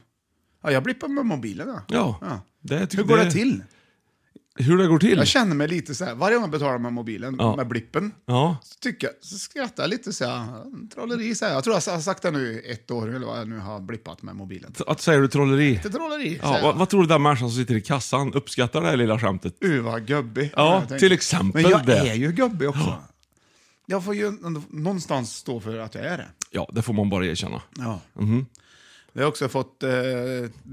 [SPEAKER 2] Ja, jag blippar med mobilen. Ja.
[SPEAKER 1] Ja. Det tycker
[SPEAKER 2] Hur går det,
[SPEAKER 1] det-
[SPEAKER 2] till?
[SPEAKER 1] Hur det går till?
[SPEAKER 2] Jag känner mig lite så här, varje gång jag betalar med mobilen,
[SPEAKER 1] Ja.
[SPEAKER 2] med blippen,
[SPEAKER 1] Ja.
[SPEAKER 2] så, tycker jag, så skrattar jag lite så här, trolleri så här. Jag tror jag har sagt det nu i ett år, eller vad jag nu har blippat med mobilen.
[SPEAKER 1] Att, säger du trolleri?
[SPEAKER 2] Lite trolleri,
[SPEAKER 1] Ja,
[SPEAKER 2] säger jag.
[SPEAKER 1] vad, vad tror du den människan som sitter i kassan uppskattar det här lilla skämtet?
[SPEAKER 2] Uh, vad gubbig.
[SPEAKER 1] Ja,
[SPEAKER 2] Jag tänker.
[SPEAKER 1] till exempel
[SPEAKER 2] Men jag
[SPEAKER 1] det.
[SPEAKER 2] är ju gubbig också. Jag får ju ändå någonstans stå för att jag är det.
[SPEAKER 1] Ja, det får man bara erkänna.
[SPEAKER 2] Ja.
[SPEAKER 1] Mhm.
[SPEAKER 2] Jag har också fått eh,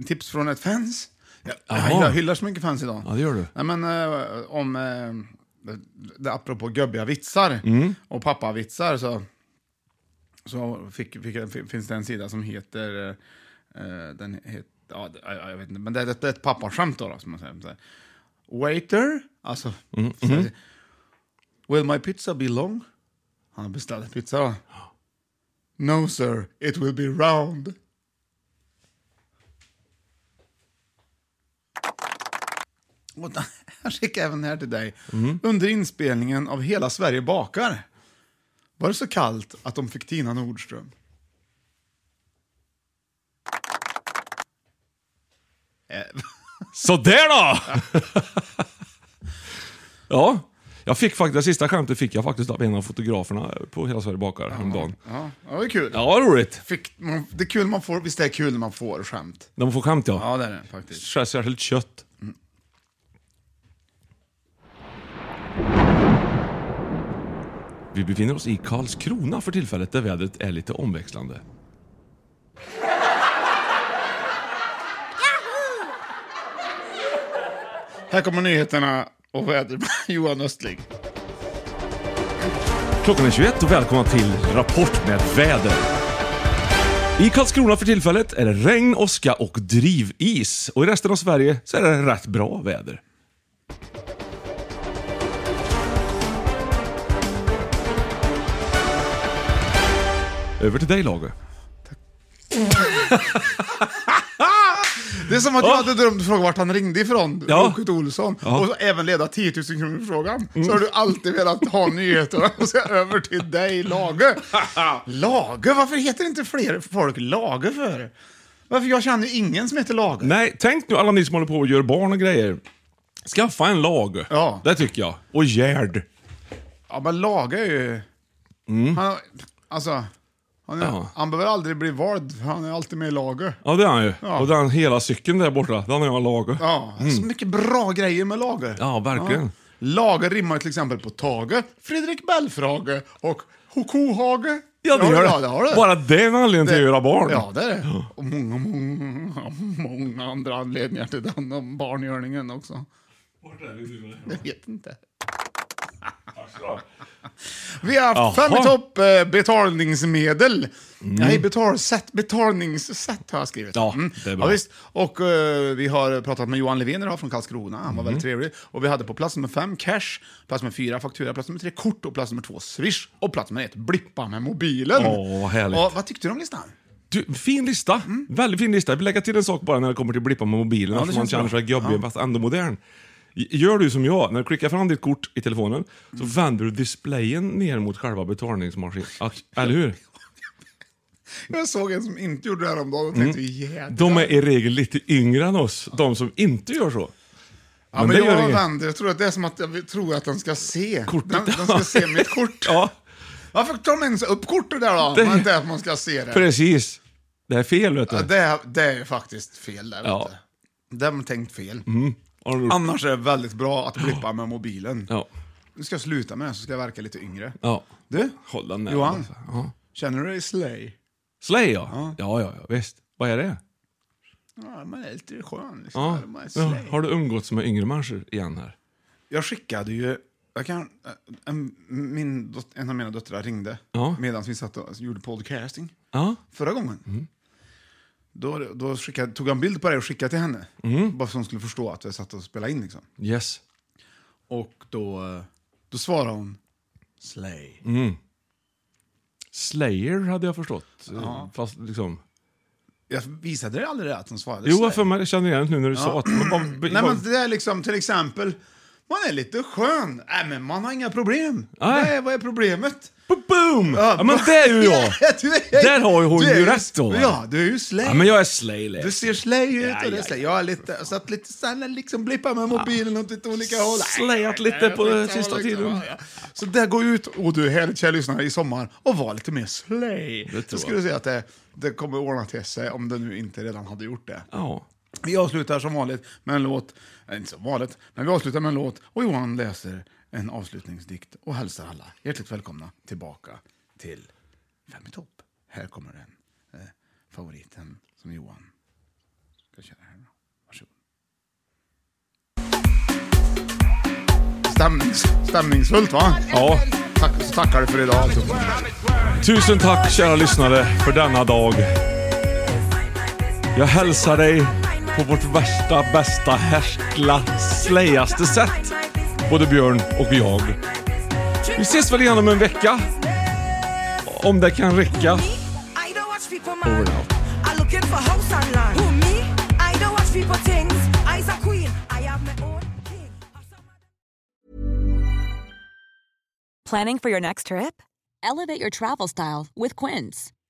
[SPEAKER 2] tips från ett fans. Jag, jag,
[SPEAKER 1] Jaha.
[SPEAKER 2] hyllar, hyllar så mycket fans idag.
[SPEAKER 1] Ja, det gör du.
[SPEAKER 2] Nej, men, eh, om, eh, det, apropå gubbiga vitsar
[SPEAKER 1] Mm.
[SPEAKER 2] och pappavitsar så, så fick, fick, f- finns det en sida som heter... eh, eh, den het, ja, det- ja, jag vet inte, men det, det, det är ett pappaskämt då, då, som man säger. Så här, Waiter, alltså...
[SPEAKER 1] Mm.
[SPEAKER 2] så här,
[SPEAKER 1] Mhm.
[SPEAKER 2] Will my pizza be long? Han beställde pizza då. No sir, it will be round. Och den här skickar jag även här till dig. Under inspelningen av Hela Sverige bakar var det så kallt att de fick Tina Nordström. Eh.
[SPEAKER 1] Sådär då! ja, jag fick faktiskt, det sista skämtet fick jag faktiskt av en av fotograferna på Hela Sverige bakar häromdagen.
[SPEAKER 2] Ja, det var ju kul.
[SPEAKER 1] Ja, roligt.
[SPEAKER 2] Fick, man, det är kul man får, visst det är kul man får skämt?
[SPEAKER 1] De får skämt ja. Mm.
[SPEAKER 2] Ja, det är det faktiskt.
[SPEAKER 1] Sär- Särskilt kött. Vi befinner oss i Karlskrona för tillfället där vädret är lite omväxlande.
[SPEAKER 2] Här kommer nyheterna och väder Johan Östling.
[SPEAKER 1] Klockan är 21 och välkomna till Rapport med väder. I Karlskrona för tillfället är det regn, åska och drivis. Och i resten av Sverige så är det rätt bra väder. Över till dig Lage.
[SPEAKER 2] Det är som att jag hade drömt fråga vart han ringde ifrån,
[SPEAKER 1] Ja.
[SPEAKER 2] Åke Olsson.
[SPEAKER 1] Ja. Mm.
[SPEAKER 2] Och så även leda 10 000 kronor-frågan. Så har du alltid velat ha nyheterna och så över till dig, Lage. Lage? Varför heter inte fler folk Lage för? Varför? Jag känner ju ingen som heter Lage.
[SPEAKER 1] Nej, tänk nu alla ni som håller på och gör barn och grejer. Skaffa en lag.
[SPEAKER 2] Ja.
[SPEAKER 1] Det tycker jag. Och Gerd.
[SPEAKER 2] Ja, men Lage är ju... Han, alltså, han, är,
[SPEAKER 1] Mm. Ja.
[SPEAKER 2] han behöver aldrig bli vald, för han är alltid med i Lage.
[SPEAKER 1] Ja, det är han ju.
[SPEAKER 2] Ja.
[SPEAKER 1] Och den hela cykeln där borta, den har jag Lage.
[SPEAKER 2] Ja, så mycket bra grejer med Lage.
[SPEAKER 1] Mm. Ja, verkligen.
[SPEAKER 2] Ja. Lage rimmar till exempel på Tage, Fredrik Belfrage och Hokohage.
[SPEAKER 1] Ja, det gör det.
[SPEAKER 2] Ja, det har du.
[SPEAKER 1] Bara det är en anledning till att göra barn.
[SPEAKER 2] Ja, det är det. Och många, många, många andra anledningar till den om barngörningen också. Jag vet inte. Vi har haft
[SPEAKER 1] Jaha.
[SPEAKER 2] fem i topp eh, betalningsmedel.
[SPEAKER 1] Mm.
[SPEAKER 2] Nej, betalsätt, betalningssätt har jag skrivit.
[SPEAKER 1] Ja,
[SPEAKER 2] Mm.
[SPEAKER 1] det är bra.
[SPEAKER 2] Ja, visst. Och eh, vi har pratat med Johan Levén idag från Karlskrona. Han var väldigt
[SPEAKER 1] Mm.
[SPEAKER 2] trevlig. Och vi hade på plats nummer fem cash, plats nummer fyra faktura, plats nummer tre kort och plats nummer två swish. Och plats nummer ett blippa med mobilen.
[SPEAKER 1] Åh, vad härligt.
[SPEAKER 2] Och, vad tyckte du om listan?
[SPEAKER 1] Du, fin lista. Väldigt fin lista. Jag vill lägga till en sak bara när det kommer till blippa med mobilen.
[SPEAKER 2] Mm. Ja, det
[SPEAKER 1] eftersom man
[SPEAKER 2] känns
[SPEAKER 1] känner
[SPEAKER 2] bra.
[SPEAKER 1] sig gubbig
[SPEAKER 2] Ja.
[SPEAKER 1] fast ändå modern. G- Gör du som jag, när du klickar fram ditt kort i telefonen så
[SPEAKER 2] Mm.
[SPEAKER 1] vänder du displayen ner mot själva betalningsmaskinen. Att- Eller hur?
[SPEAKER 2] Jag såg en som inte gjorde det här om dagen och tänkte jädrar.
[SPEAKER 1] Mm. De är i regel lite yngre än oss, de som inte gör så.
[SPEAKER 2] Ja, men
[SPEAKER 1] det gör
[SPEAKER 2] jag
[SPEAKER 1] inget.
[SPEAKER 2] vänder, jag tror att det är som att jag tror att den ska se. Den, den ska se mitt kort.
[SPEAKER 1] Ja,
[SPEAKER 2] Varför tar de ens upp kortet där då?
[SPEAKER 1] Det-
[SPEAKER 2] Om inte att man ska se det.
[SPEAKER 1] precis. Det är fel, vet du.
[SPEAKER 2] Ja, det, är- det är faktiskt fel där,
[SPEAKER 1] Ja.
[SPEAKER 2] vet du. De har tänkt fel.
[SPEAKER 1] Mm. Har de gjort.
[SPEAKER 2] Annars är det väldigt bra att blippa med mobilen.
[SPEAKER 1] Ja.
[SPEAKER 2] Nu ska jag sluta med det, så ska jag verka lite yngre.
[SPEAKER 1] Ja.
[SPEAKER 2] Du,
[SPEAKER 1] Hålla näven.
[SPEAKER 2] Johan,
[SPEAKER 1] Ja.
[SPEAKER 2] känner du dig slay?
[SPEAKER 1] Slay ja. Ja. ja, ja, visst. Vad är det?
[SPEAKER 2] Ja, man är lite skön. Liksom.
[SPEAKER 1] Ja.
[SPEAKER 2] Man är
[SPEAKER 1] Ja.
[SPEAKER 2] slay.
[SPEAKER 1] Har du umgåtts med yngre människor igen här?
[SPEAKER 2] Jag skickade ju... Jag kan, en, min, dot- en av mina döttrar ringde
[SPEAKER 1] Ja.
[SPEAKER 2] medan vi satt och gjorde podcasting
[SPEAKER 1] Ja.
[SPEAKER 2] förra gången.
[SPEAKER 1] Mm.
[SPEAKER 2] Då, då skickade, tog jag en bild på det och skickade till henne.
[SPEAKER 1] Mm.
[SPEAKER 2] Bara så hon skulle förstå att jag satt och spelade in. Liksom.
[SPEAKER 1] Yes.
[SPEAKER 2] Och då, eh, då svarade hon Slay.
[SPEAKER 1] Mm. Slayer hade jag förstått.
[SPEAKER 2] Ja.
[SPEAKER 1] Fast liksom...
[SPEAKER 2] Jag visade dig aldrig det, att hon svarade
[SPEAKER 1] Jo,
[SPEAKER 2] Slay.
[SPEAKER 1] jag för mig- jag känner igen det nu när du
[SPEAKER 2] Ja.
[SPEAKER 1] sa att... Man, man,
[SPEAKER 2] Nej, men det är liksom till exempel, man är lite skön. Nej, men man har inga problem.
[SPEAKER 1] Nej.
[SPEAKER 2] Vad, är, vad är problemet?
[SPEAKER 1] Boom! Ja, men det är ju jag!
[SPEAKER 2] Ja, du är-
[SPEAKER 1] Där har ju hon
[SPEAKER 2] du är
[SPEAKER 1] ju rätt då, va?
[SPEAKER 2] Ja, du är ju slay.
[SPEAKER 1] Ja, men jag är slay
[SPEAKER 2] Du
[SPEAKER 1] liksom.
[SPEAKER 2] ser slay ut
[SPEAKER 1] Ja,
[SPEAKER 2] och det
[SPEAKER 1] ja,
[SPEAKER 2] är slay. Jag är lite, så att lite såhär liksom blippar med mobilen åt lite olika håll.
[SPEAKER 1] Slayat Ah,
[SPEAKER 2] Nej,
[SPEAKER 1] lite på
[SPEAKER 2] skitsamma,
[SPEAKER 1] det sista
[SPEAKER 2] liksom.
[SPEAKER 1] tiden.
[SPEAKER 2] Ja, ja. Så där går ut, och du är härligt kära lyssnare, i sommar och var lite mer slay.
[SPEAKER 1] Det tror
[SPEAKER 2] Då
[SPEAKER 1] jag.
[SPEAKER 2] skulle du säga att det, det kommer ordna till sig om det nu inte redan hade gjort det.
[SPEAKER 1] Ja.
[SPEAKER 2] Vi avslutar som vanligt med en låt, eh, inte som vanligt, men vi avslutar med en låt och Johan läser en avslutningsdikt och hälsar alla hjärtligt välkomna tillbaka till Fem i topp. Här kommer den, eh, favoriten som Johan ska köra här. nu. Varsågod. Stämnings, stämningsfullt va?
[SPEAKER 1] Ja.
[SPEAKER 2] Tack, så tackar du för idag alltihopa.
[SPEAKER 1] Tusen tack kära lyssnare för denna dag. Jag hälsar dig på vårt värsta, bästa, härskla, slayaste sätt. Både Björn och jag. Vi ses väl igen om en vecka. Om det kan räcka.
[SPEAKER 5] I don't watch people
[SPEAKER 1] Over
[SPEAKER 5] man.
[SPEAKER 1] and out.
[SPEAKER 5] I looking for house online. Who me? I don't watch people things. I's a queen. I have my own.
[SPEAKER 13] Planning for your next trip? Elevate your travel style with Quince.